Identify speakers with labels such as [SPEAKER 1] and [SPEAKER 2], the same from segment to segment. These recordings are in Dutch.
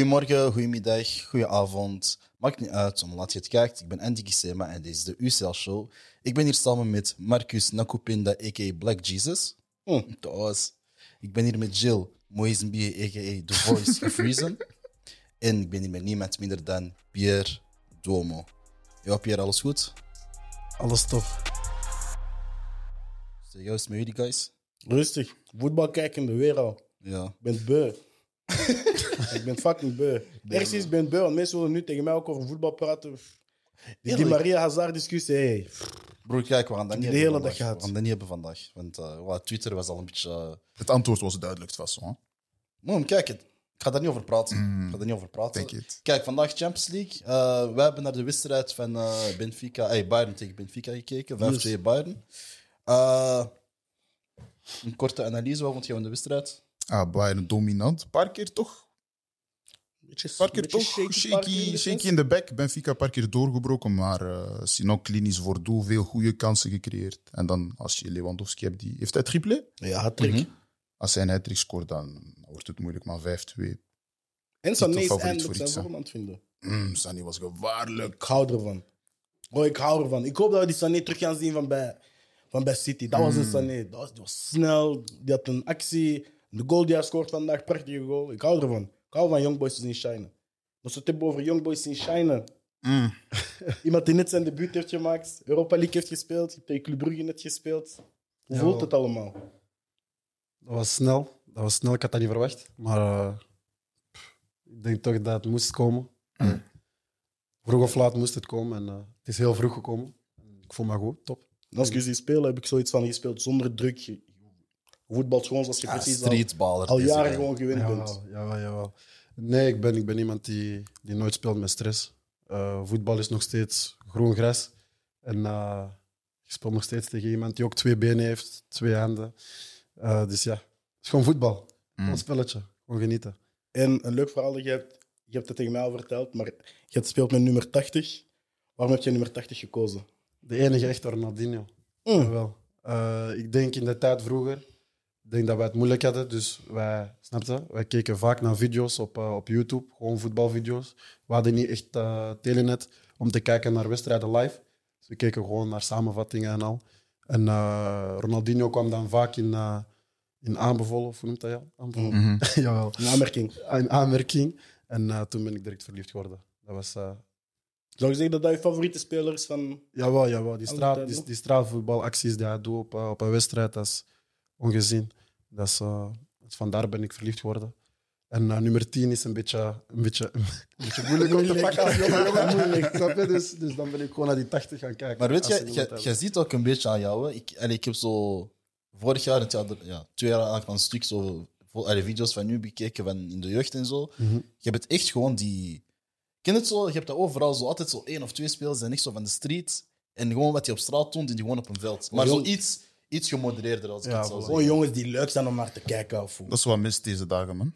[SPEAKER 1] Goedemorgen, goedemiddag, goedenavond. Maakt niet uit om laat je het kijkt. Ik ben Andy Gisema en dit is de UCL Show. Ik ben hier samen met Marcus Nakupinda, a.k.a. Black Jesus. Hm,
[SPEAKER 2] Hmm.
[SPEAKER 1] Toos. Ik ben hier met Jill Moisenbie, a.k.a. The Voice of Reason. En ik ben hier met niemand minder dan Pierre Domo. Ja, Pierre, alles goed?
[SPEAKER 2] Alles tof.
[SPEAKER 1] Serieus met jullie, guys?
[SPEAKER 2] Rustig. Voetbal kijkende weer al.
[SPEAKER 1] Ja.
[SPEAKER 2] Ik ben het beu. ik ben fucking beu. Ergens is ik ben het beu, want mensen willen nu tegen mij ook over voetbal praten. Die, die
[SPEAKER 1] Eerlijk?
[SPEAKER 2] Maria Hazard discussie, hey.
[SPEAKER 1] Broer, kijk, we gaan dat niet
[SPEAKER 2] De
[SPEAKER 1] hebben
[SPEAKER 2] hele
[SPEAKER 1] vandaag.
[SPEAKER 2] dag gehad.
[SPEAKER 1] We gaan dat niet hebben vandaag. Want eh, voilà, Twitter was al een beetje... eh,
[SPEAKER 3] Het antwoord was duidelijk, het was zo. hè?
[SPEAKER 1] Moem, kijk, het- ik ga daar niet over praten.
[SPEAKER 2] Hmm.
[SPEAKER 1] Ik ga daar niet over praten.
[SPEAKER 3] Take it.
[SPEAKER 1] Kijk, vandaag Champions League. Eh, wij hebben naar de wedstrijd van eh, Benfica, hey, Bayern tegen Benfica gekeken. 5-2 Bayern. Eh, een korte analyse, wat vond je van de wedstrijd?
[SPEAKER 3] Ah, Bayern dominant. Een paar keer toch?
[SPEAKER 2] Beetje,
[SPEAKER 3] Een paar keer toch? Shaky, shaky, in de back. Benfica een paar keer doorgebroken, maar eh Sinon klinisch voor doel. Veel goede kansen gecreëerd. En dan als je Lewandowski hebt, die heeft hij triple.
[SPEAKER 2] Ja, trick.
[SPEAKER 1] Mhm.
[SPEAKER 3] Als hij een hat scoort, dan wordt het moeilijk, maar 5-2.
[SPEAKER 2] En Sané is
[SPEAKER 3] favoriet
[SPEAKER 2] eindelijk
[SPEAKER 3] voor
[SPEAKER 2] zijn
[SPEAKER 3] iets, hè?
[SPEAKER 2] vorm aan het vinden.
[SPEAKER 3] Mm, Sani was gevaarlijk.
[SPEAKER 2] Ik hou ervan. Oh, ik hou ervan. Ik hoop dat we die Sané terug gaan zien van bij, van bij City. Dat was een Sané. Dat was, die was snel. Die had een actie. De goal die hij scoort vandaag, prachtige goal. Ik hou ervan. Ik hou van Young Boys te zien shinen. Als we het hebben over Young Boys zien shinen.
[SPEAKER 3] Mm.
[SPEAKER 2] Iemand die net zijn debuut heeft gemaakt, Europa League heeft gespeeld, je hebt tegen Club Brugge net gespeeld. Hoe
[SPEAKER 4] Jawel.
[SPEAKER 2] voelt het allemaal?
[SPEAKER 4] Dat was snel. Dat was snel. Ik had dat niet verwacht. Maar eh, pff, ik denk toch dat het moest komen. Vroeg of laat moest het komen. En eh, het is heel vroeg gekomen. Ik voel me goed. Top.
[SPEAKER 2] En Als ik je zie spelen, heb ik zoiets van gespeeld zonder druk. Je voetbalt gewoon zoals je
[SPEAKER 1] Ja,
[SPEAKER 2] precies al,
[SPEAKER 1] streetballer.
[SPEAKER 2] al
[SPEAKER 1] deze
[SPEAKER 2] jaren
[SPEAKER 1] guy.
[SPEAKER 2] gewoon gewend bent.
[SPEAKER 4] Jawel, jawel, jawel. Nee, ik ben, ik ben iemand die, die nooit speelt met stress. Eh, voetbal is nog steeds groen gras. En eh, je speelt nog steeds tegen iemand die ook twee benen heeft, twee handen. Eh, dus ja, het is gewoon voetbal. Gewoon
[SPEAKER 3] Mm.
[SPEAKER 4] Een spelletje. Gewoon genieten.
[SPEAKER 2] En een leuk verhaal dat je hebt, je hebt het tegen mij al verteld, maar je speelt met nummer 80. Waarom heb je nummer 80 gekozen?
[SPEAKER 4] De enige echte Ronaldinho.
[SPEAKER 2] Mm.
[SPEAKER 4] Jawel. Eh, ik denk in de tijd vroeger, ik denk dat wij het moeilijk hadden. Dus wij, snapte, wij keken vaak naar video's op, eh, op YouTube, gewoon voetbalvideo's. We hadden niet echt eh, telenet om te kijken naar wedstrijden live. Dus we keken gewoon naar samenvattingen en al. En eh, Ronaldinho kwam dan vaak in, eh, in aanbevolen, of hoe noemt dat ja? Aanbevolen?
[SPEAKER 3] Mhm.
[SPEAKER 4] Jawel,
[SPEAKER 2] Een aanmerking.
[SPEAKER 4] in aanmerking. En eh, toen ben ik direct verliefd geworden. Dat was... eh,
[SPEAKER 2] Zou je zeggen dat dat je favoriete speler is van...
[SPEAKER 4] Jawel, jawel. Die, straat,
[SPEAKER 2] tijd
[SPEAKER 4] die,
[SPEAKER 2] nog.
[SPEAKER 4] die straatvoetbalacties die hij doet op, eh, op een wedstrijd, dat is ongezien. Dat is, eh, dus vandaar ben ik verliefd geworden. En eh, nummer 10 is een beetje, een beetje, een beetje moeilijk om te
[SPEAKER 2] Moeilijk.
[SPEAKER 4] pakken als jongen. jongen, moeilijk, snap je? Dus, dus dan ben ik gewoon naar die 80 gaan kijken.
[SPEAKER 1] Maar weet
[SPEAKER 4] Als
[SPEAKER 1] je,
[SPEAKER 4] ze
[SPEAKER 1] je,
[SPEAKER 4] iemand
[SPEAKER 1] je ziet ook een beetje aan jou. hè. Ik, allee, ik heb zo vorig jaar, het jaar er- ja, twee jaar eigenlijk aan een stuk, zo, vo- allee, video's van nu bekeken van in de jeugd en zo.
[SPEAKER 4] Mhm.
[SPEAKER 1] Je hebt echt gewoon die. Ken het zo? Je hebt dat overal zo altijd zo één of twee spelers zijn echt zo van de street. En gewoon wat die op straat doen, doen die gewoon op een veld. Maar zo
[SPEAKER 2] Gewoon-
[SPEAKER 1] iets, iets gemodereerder als ik
[SPEAKER 4] Ja,
[SPEAKER 1] het zou
[SPEAKER 4] voilà.
[SPEAKER 1] zeggen.
[SPEAKER 2] Gewoon jongens die leuk zijn om naar te kijken. Of hoe?
[SPEAKER 3] Dat is wat mis deze dagen, man.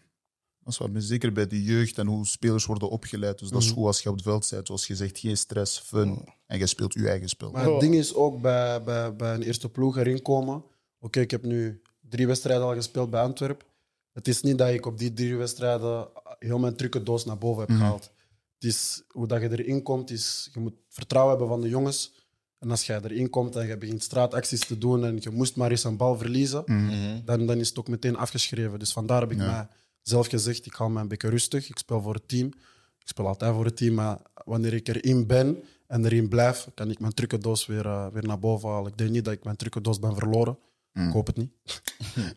[SPEAKER 3] Dat is wat mis. Zeker bij de jeugd en hoe spelers worden opgeleid. Dus dat is goed als je op het veld bent. Zoals je zegt, geen stress, fun. En je speelt je eigen spel.
[SPEAKER 4] Maar het ding is ook bij, bij, bij een eerste ploeg erin komen. Oké, ik heb nu drie wedstrijden al gespeeld bij Antwerpen. Het is niet dat ik op die drie wedstrijden heel mijn trucendoos naar boven heb gehaald. Het is hoe dat je erin komt, is, je moet vertrouwen hebben van de jongens. En als jij erin komt en je begint straatacties te doen en je moest maar eens een bal verliezen,
[SPEAKER 1] Mhm.
[SPEAKER 4] dan, dan is het ook meteen afgeschreven. Dus vandaar heb ik mij zelf gezegd, ik hou mij een beetje rustig. Ik speel voor het team. Ik speel altijd voor het team, maar wanneer ik erin ben en erin blijf, kan ik mijn trucendoos weer, eh, weer naar boven halen. Ik denk niet dat ik mijn trucendoos ben verloren. Ik hoop het niet.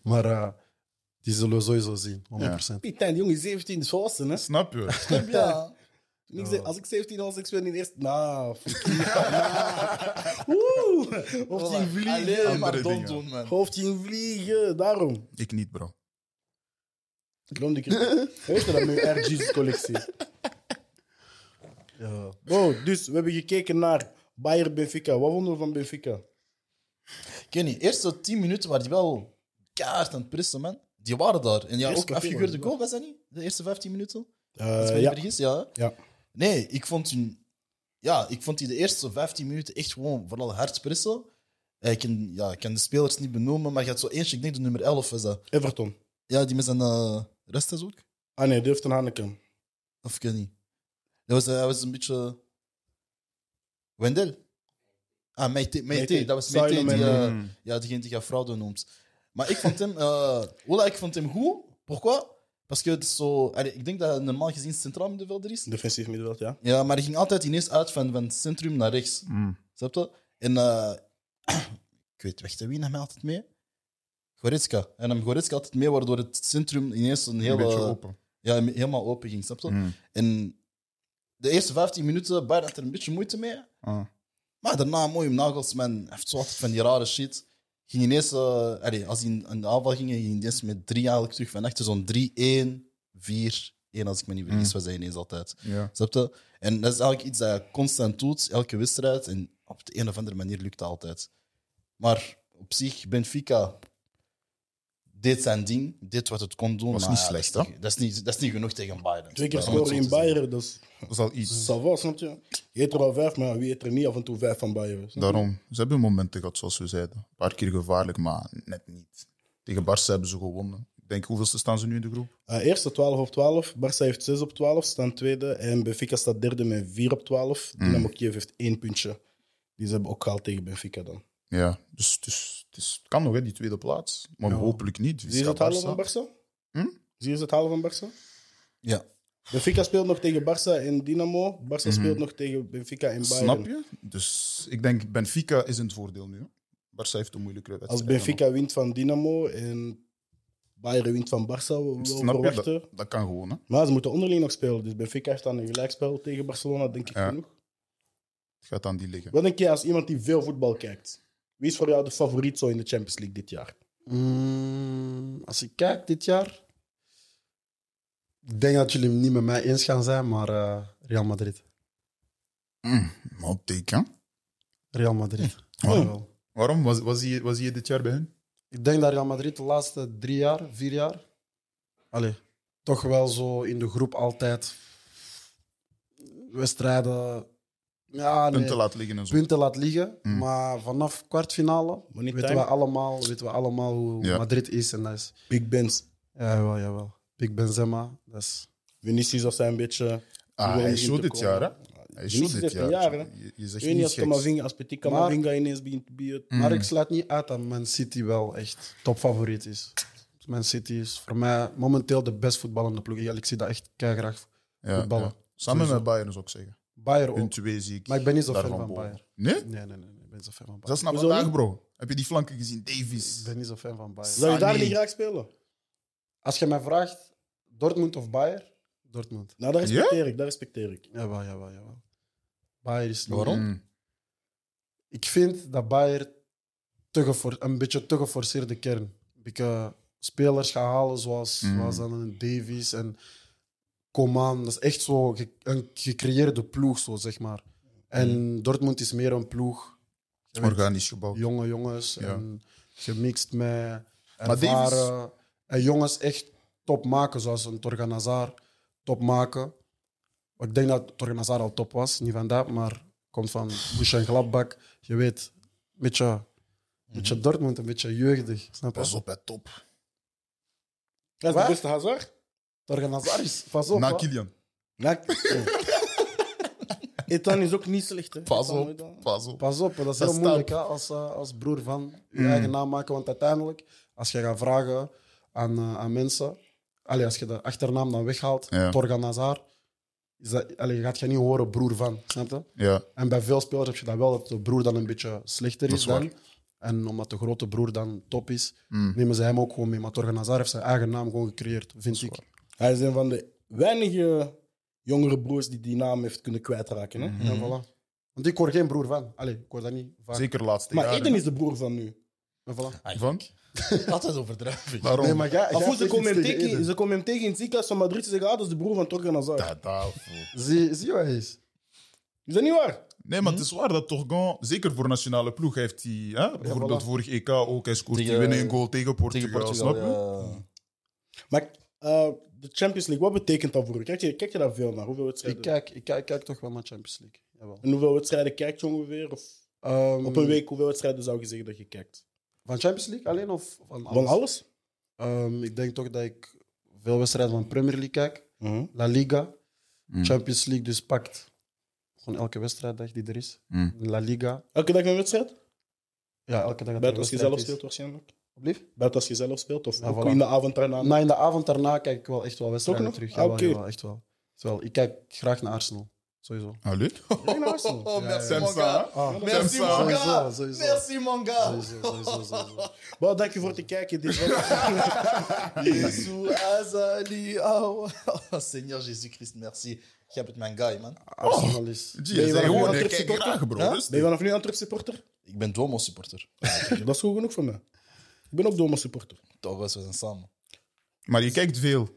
[SPEAKER 4] maar eh, die zullen we sowieso zien, 100%.
[SPEAKER 2] Pietijn, die jongen is 17, is volwassen, hè?
[SPEAKER 3] Snap je?
[SPEAKER 2] Snap je? Toen ik zei- als ik 17 was, ik speelde in eerst. Nou, fuck you. Nou. Oeh, hoofdje
[SPEAKER 1] Alleen
[SPEAKER 2] in vliegen.
[SPEAKER 1] maar
[SPEAKER 3] Andere
[SPEAKER 1] dom
[SPEAKER 3] dingen.
[SPEAKER 1] doen, man.
[SPEAKER 2] Hoofdje in vliegen, daarom.
[SPEAKER 3] Ik niet, bro.
[SPEAKER 2] Daarom die keer. Weet je dat met je RG's-collectie?
[SPEAKER 4] Ja.
[SPEAKER 2] Wow, dus we hebben gekeken naar Bayer Benfica. Wat vonden we van Benfica?
[SPEAKER 1] Ik weet niet, eerst zo tien minuten waren die wel kaart aan het pressen, man. Die waren daar. En ja,
[SPEAKER 2] Eerste
[SPEAKER 1] ook
[SPEAKER 2] kwartier
[SPEAKER 1] afgekeurde
[SPEAKER 2] waren
[SPEAKER 1] goal, was dat niet? De eerste 15 minuten?
[SPEAKER 2] Eh,
[SPEAKER 1] Als ik me niet
[SPEAKER 2] ja.
[SPEAKER 1] vergis, ja. hè?
[SPEAKER 2] ja.
[SPEAKER 1] Nee, ik vond hun... Ja, ik vond die de eerste 15 minuten echt gewoon vooral hard pressen. Eh, Ik kan, ja, ik kan de spelers niet benoemen, maar je had zo eentje, ik denk de nummer 11 was dat.
[SPEAKER 2] Everton.
[SPEAKER 1] Ja, die met zijn eh rest is ook.
[SPEAKER 2] Ah nee, Durft en Haneken.
[SPEAKER 1] Of ik weet niet. Dat was, eh, hij was een beetje... Wendel? Ah, Meite. Meite,
[SPEAKER 2] Meite.
[SPEAKER 1] dat was
[SPEAKER 2] Sorry,
[SPEAKER 1] Meite. Die,
[SPEAKER 2] Meite.
[SPEAKER 1] eh, ja, diegene die je fraude noemt. Maar ik vond hem... eh voilà, ik vond hem goed. Pourquoi? Parce que het is zo... allee, ik denk dat hij normaal gezien centraal middenvelder is.
[SPEAKER 2] Defensief middenveld, ja.
[SPEAKER 1] Ja, maar hij ging altijd ineens uit van, van het centrum naar rechts.
[SPEAKER 3] Mm.
[SPEAKER 1] Snap je? En eh, ik weet weg te wie nam hij altijd mee. Goretzka. En hem Goretzka altijd mee, waardoor het centrum ineens een
[SPEAKER 3] Een
[SPEAKER 1] hele...
[SPEAKER 3] beetje open.
[SPEAKER 1] Ja, hem helemaal open ging, snap je?
[SPEAKER 3] Mm.
[SPEAKER 1] En de eerste 15 minuten, Bayern had er een beetje moeite mee.
[SPEAKER 3] Ah.
[SPEAKER 1] Maar daarna, mooi om Nagelsman, hij heeft zo altijd van die rare shit. Ging ineens, eh, allee, als hij in in de aanval ging, ging hij ineens met drie eigenlijk terug van achter. Zo'n 3-1, 4-1, als ik me niet vergis,
[SPEAKER 3] Mm.
[SPEAKER 1] was hij ineens altijd.
[SPEAKER 3] Ja.
[SPEAKER 1] Snap je? En dat is eigenlijk iets dat je constant doet, elke wedstrijd. En op de een of andere manier lukt dat altijd. Maar op zich, Benfica deed zijn ding, deed wat het kon doen.
[SPEAKER 3] Was
[SPEAKER 1] maar
[SPEAKER 3] niet
[SPEAKER 1] ja,
[SPEAKER 3] slecht,
[SPEAKER 1] dat is
[SPEAKER 3] hè?
[SPEAKER 1] niet- dat, is niet, dat is niet genoeg tegen Bayern.
[SPEAKER 2] Twee keer
[SPEAKER 1] Om het zo
[SPEAKER 2] scoren in
[SPEAKER 1] te zeggen.
[SPEAKER 2] Bayern, dat is
[SPEAKER 3] Dat is al iets.
[SPEAKER 2] ça va, snap je? Je eet er al vijf, maar wie eet er niet af en toe vijf van Bayern? snap je?
[SPEAKER 3] Daarom, ze hebben momenten gehad, zoals we zeiden. Een paar keer gevaarlijk, maar net niet. Tegen Barça hebben ze gewonnen. Ik denk, hoeveelste staan ze nu in de groep?
[SPEAKER 2] Eh, eerste 12 op 12. Barça heeft 6 op 12, staan tweede. En Benfica staat derde met 4 op 12.
[SPEAKER 3] Mm.
[SPEAKER 2] Dynamo Kiev heeft één puntje. Die ze hebben ook gehaald tegen Benfica dan.
[SPEAKER 3] Ja, dus het, is, het, is- het kan nog, hè, die tweede plaats. Maar hopelijk niet.
[SPEAKER 2] Zie je het halen van Barça?
[SPEAKER 3] Hm?
[SPEAKER 2] Zie je het halen van Barça?
[SPEAKER 1] Ja.
[SPEAKER 2] Benfica speelt nog tegen Barça en Dynamo. Barça speelt nog tegen Benfica en Bayern.
[SPEAKER 3] Mhm. Snap je? Dus ik denk, Benfica is in het voordeel nu. hè. Barça heeft een moeilijkere wedstrijd.
[SPEAKER 2] Als Benfica wint van Dynamo en Bayern wint van Barça, we we
[SPEAKER 3] Snap je?
[SPEAKER 2] verwachten.
[SPEAKER 3] Dat, dat kan gewoon, hè.
[SPEAKER 2] Maar ze moeten onderling nog spelen. Dus Benfica heeft dan een gelijkspel tegen Barcelona, denk ik
[SPEAKER 3] Ja.
[SPEAKER 2] genoeg.
[SPEAKER 3] Het gaat aan die liggen.
[SPEAKER 2] Wat denk jij als iemand die veel voetbal kijkt? Wie is voor jou de favoriet zo in de Champions League dit jaar?
[SPEAKER 4] Mm, als ik kijk dit jaar. Ik denk dat jullie het niet met mij eens gaan zijn, maar eh, Real Madrid.
[SPEAKER 3] Mm, maar op teken.
[SPEAKER 4] Real Madrid. Jawel.
[SPEAKER 3] Waarom? Was, was, hij, was hij dit jaar bij hen?
[SPEAKER 4] Ik denk dat Real Madrid de laatste drie jaar, vier jaar, allez, toch wel zo in de groep altijd wedstrijden ja, nee,
[SPEAKER 3] Punten laat liggen en zo.
[SPEAKER 4] punten laat liggen.
[SPEAKER 3] Mm.
[SPEAKER 4] Maar vanaf kwartfinale
[SPEAKER 2] Maar niet
[SPEAKER 4] weten
[SPEAKER 2] time.
[SPEAKER 4] we, allemaal, weten we allemaal hoe
[SPEAKER 3] Ja.
[SPEAKER 4] Madrid is. En dat is,
[SPEAKER 2] Big Ben's.
[SPEAKER 4] ja, jawel, jawel. Big Benzema, dat is...
[SPEAKER 2] Vinicius was hij een beetje...
[SPEAKER 3] Ah,
[SPEAKER 2] Wil
[SPEAKER 3] hij is
[SPEAKER 2] niet
[SPEAKER 3] zo
[SPEAKER 2] te
[SPEAKER 3] dit
[SPEAKER 2] komen.
[SPEAKER 3] jaar, hè? Hij is zo
[SPEAKER 2] Vinicius
[SPEAKER 3] dit
[SPEAKER 2] heeft
[SPEAKER 3] jaar.
[SPEAKER 2] een jaar, hè?
[SPEAKER 3] je, je
[SPEAKER 2] Ik
[SPEAKER 3] zegt
[SPEAKER 2] weet niet als
[SPEAKER 3] niets geks.
[SPEAKER 2] Kamavinga, als Petit Kamavinga ineens begint te bieden.
[SPEAKER 3] Mm.
[SPEAKER 4] Maar ik sluit niet uit dat Man City wel echt topfavoriet is. Man City is voor mij momenteel de best voetballende ploeg. Ja, Ik zie dat echt graag.
[SPEAKER 3] Ja,
[SPEAKER 4] voetballen.
[SPEAKER 3] ja. Samen
[SPEAKER 4] Sowieso.
[SPEAKER 3] met Bayern zou ik zeggen.
[SPEAKER 4] Bayern
[SPEAKER 3] Hun
[SPEAKER 4] ook.
[SPEAKER 3] twee zie ik
[SPEAKER 4] Maar ik ben niet zo
[SPEAKER 3] daarvan
[SPEAKER 4] fan van
[SPEAKER 3] boven.
[SPEAKER 4] Bayern.
[SPEAKER 3] Nee?
[SPEAKER 4] Nee, nee, nee. nee, Ik ben niet zo fan van Bayern.
[SPEAKER 3] Dat is naar
[SPEAKER 2] Hoezo
[SPEAKER 3] vandaag,
[SPEAKER 2] niet?
[SPEAKER 3] bro. Heb je die flanken gezien?
[SPEAKER 4] Ik
[SPEAKER 3] Davies.
[SPEAKER 4] ben niet zo fan van Bayern.
[SPEAKER 2] Zou je daar
[SPEAKER 3] Sané.
[SPEAKER 2] niet graag spelen?
[SPEAKER 4] Als je mij vraagt, Dortmund of Bayern? Dortmund.
[SPEAKER 2] Nou, dat respecteer ik, dat respecteer ik.
[SPEAKER 4] Jawel, jawel, jawel. Bayern is niet...
[SPEAKER 1] Waarom?
[SPEAKER 3] Mm.
[SPEAKER 4] Ik vind dat Bayern te gefor- een beetje te geforceerde kern. Ik eh, spelers gaan halen zoals,
[SPEAKER 3] Mm.
[SPEAKER 4] zoals dan een Davies en Coman. Dat is echt zo ge- een gecreëerde ploeg, zo, zeg maar. En Dortmund is meer een ploeg. Je weet,
[SPEAKER 3] Organisch gebouwd.
[SPEAKER 4] jonge jongens
[SPEAKER 3] Ja.
[SPEAKER 4] en gemixt met
[SPEAKER 3] Davies-
[SPEAKER 4] ervaren en jongens echt top maken, zoals een Torgan Hazard top maken. Ik denk dat Torgan Hazard al top was, niet van dat, maar komt van Bush en Gladbach. Je weet, een beetje, een beetje Dortmund, een beetje jeugdig, snap
[SPEAKER 3] Mhm. Pas
[SPEAKER 4] je?
[SPEAKER 3] op, hè, top.
[SPEAKER 2] Dat is
[SPEAKER 4] Waar?
[SPEAKER 2] de beste Hazard.
[SPEAKER 4] Torgan Hazard is, pas op.
[SPEAKER 3] Na
[SPEAKER 4] hè.
[SPEAKER 3] Kilian.
[SPEAKER 2] Nou, Etan is ook niet slecht, hè.
[SPEAKER 3] Pas
[SPEAKER 2] Ethan,
[SPEAKER 3] op,
[SPEAKER 2] Ethan.
[SPEAKER 3] pas op.
[SPEAKER 4] Pas op, dat
[SPEAKER 3] Dat
[SPEAKER 4] is heel
[SPEAKER 3] staat- Mm.
[SPEAKER 4] moeilijk hè, als, eh, als broer van je eigen naam maken. Want uiteindelijk, als je gaat vragen aan, eh, aan mensen, allee, als je de achternaam dan weghaalt,
[SPEAKER 3] Ja.
[SPEAKER 4] Torgan Hazard, is dat, allee, gaat je niet horen broer van, snap je?
[SPEAKER 3] Ja,
[SPEAKER 4] En bij veel spelers heb je dat wel, dat de broer dan een beetje slechter
[SPEAKER 3] Dat
[SPEAKER 4] is,
[SPEAKER 3] is
[SPEAKER 4] dan.
[SPEAKER 3] waar.
[SPEAKER 4] En omdat de grote broer dan top is,
[SPEAKER 3] Mm.
[SPEAKER 4] nemen ze hem ook gewoon mee. Maar Torgan Hazard heeft zijn eigen naam gewoon gecreëerd, vind ik.
[SPEAKER 2] Hij is een van de weinige jongere broers die die naam heeft kunnen kwijtraken,
[SPEAKER 3] Mm.
[SPEAKER 2] hè.
[SPEAKER 4] En voilà. Want ik hoor geen broer van. Allee, ik hoor dat niet vaak.
[SPEAKER 3] zeker laatste
[SPEAKER 2] Maar
[SPEAKER 3] jaren.
[SPEAKER 2] Eden is de broer van nu.
[SPEAKER 4] En voilà.
[SPEAKER 3] Van?
[SPEAKER 1] Altijd overdrijven.
[SPEAKER 3] Waarom?
[SPEAKER 4] Nee, maar jij- jij
[SPEAKER 2] Af en toe, ze
[SPEAKER 4] zegt
[SPEAKER 2] komen hem
[SPEAKER 4] iets tegen Eden.
[SPEAKER 2] tegen- ze komen hem tegen in het ziekenhuis van Madrid. Ze zeggen, ah, dat is de broer van Torgan Hazard.
[SPEAKER 3] Da, da, fool.
[SPEAKER 4] Zie, zie wat hij is.
[SPEAKER 2] Is dat niet waar?
[SPEAKER 3] Nee, maar het is waar dat Torgan, zeker voor nationale ploeg, hij heeft hij, hè, bijvoorbeeld
[SPEAKER 4] voilà.
[SPEAKER 3] vorig EK ook, hij scoort
[SPEAKER 1] Tegen-
[SPEAKER 3] die winnende goal tegen Portugal,
[SPEAKER 1] Tegen Portugal,
[SPEAKER 3] snap je?
[SPEAKER 1] ja.
[SPEAKER 2] Maar eh, de Champions League, wat betekent dat voor je? Kijk je, kijk je daar veel naar? Hoeveel
[SPEAKER 4] Ik
[SPEAKER 2] wedstrijden?
[SPEAKER 4] kijk, ik kijk, ik kijk toch wel naar Champions League. Jawel.
[SPEAKER 2] En hoeveel wedstrijden kijk je ongeveer? Of
[SPEAKER 4] Ehm,
[SPEAKER 2] op een week, hoeveel wedstrijden zou je zeggen dat je kijkt?
[SPEAKER 4] Van Champions League alleen of van alles?
[SPEAKER 2] Van alles? Mhm.
[SPEAKER 4] Ehm, ik denk toch dat ik veel wedstrijden van Premier League kijk. La Liga.
[SPEAKER 3] Mm.
[SPEAKER 4] Champions League dus pakt. Gewoon elke wedstrijddag die er is.
[SPEAKER 3] Mm.
[SPEAKER 4] La Liga.
[SPEAKER 2] Elke dag een wedstrijd?
[SPEAKER 4] Ja, elke dag dat er
[SPEAKER 2] Buiten als je zelf speelt
[SPEAKER 4] wedstrijd is.
[SPEAKER 2] waarschijnlijk.
[SPEAKER 4] Alsjeblieft.
[SPEAKER 2] Buiten als je zelf speelt of
[SPEAKER 4] Ja,
[SPEAKER 2] ook
[SPEAKER 4] voilà.
[SPEAKER 2] in de avond daarna.
[SPEAKER 4] Maar in de avond daarna kijk ik wel echt wel wedstrijden
[SPEAKER 2] nog?
[SPEAKER 4] terug.
[SPEAKER 2] Ah,
[SPEAKER 4] Jawel,
[SPEAKER 2] oké.
[SPEAKER 4] jawel, echt wel. Terwijl, ik kijk graag naar Arsenal. Sowieso.
[SPEAKER 3] Allee?
[SPEAKER 2] Nee, naar Arsenal.
[SPEAKER 3] Sam Sa, hè?
[SPEAKER 4] Ah,
[SPEAKER 3] Merci,
[SPEAKER 4] sowieso,
[SPEAKER 3] man.
[SPEAKER 4] sowieso, sowieso.
[SPEAKER 1] mon gars.
[SPEAKER 4] Sowieso, sowieso, sowieso.
[SPEAKER 2] Wel, dank je voor het kijken. Dit was...
[SPEAKER 1] Jezus, Azali, oh. Seigneur Jezus Christus, merci. Je hebt het mijn guy, man.
[SPEAKER 4] Arsenal is...
[SPEAKER 3] Gee, jij
[SPEAKER 2] wel
[SPEAKER 3] zei
[SPEAKER 2] een
[SPEAKER 3] gewoon,
[SPEAKER 2] goede
[SPEAKER 3] ik kijk
[SPEAKER 2] supporter?
[SPEAKER 3] graag, bro. Dus
[SPEAKER 1] Ja?
[SPEAKER 3] rustig.
[SPEAKER 2] Ben je vanaf nu Antwerp supporter?
[SPEAKER 1] Ik ben Duomo supporter.
[SPEAKER 2] Dat is goed genoeg voor mij. Ik ben ook Domo supporter.
[SPEAKER 1] Toch, we zijn samen.
[SPEAKER 3] Maar je kijkt veel.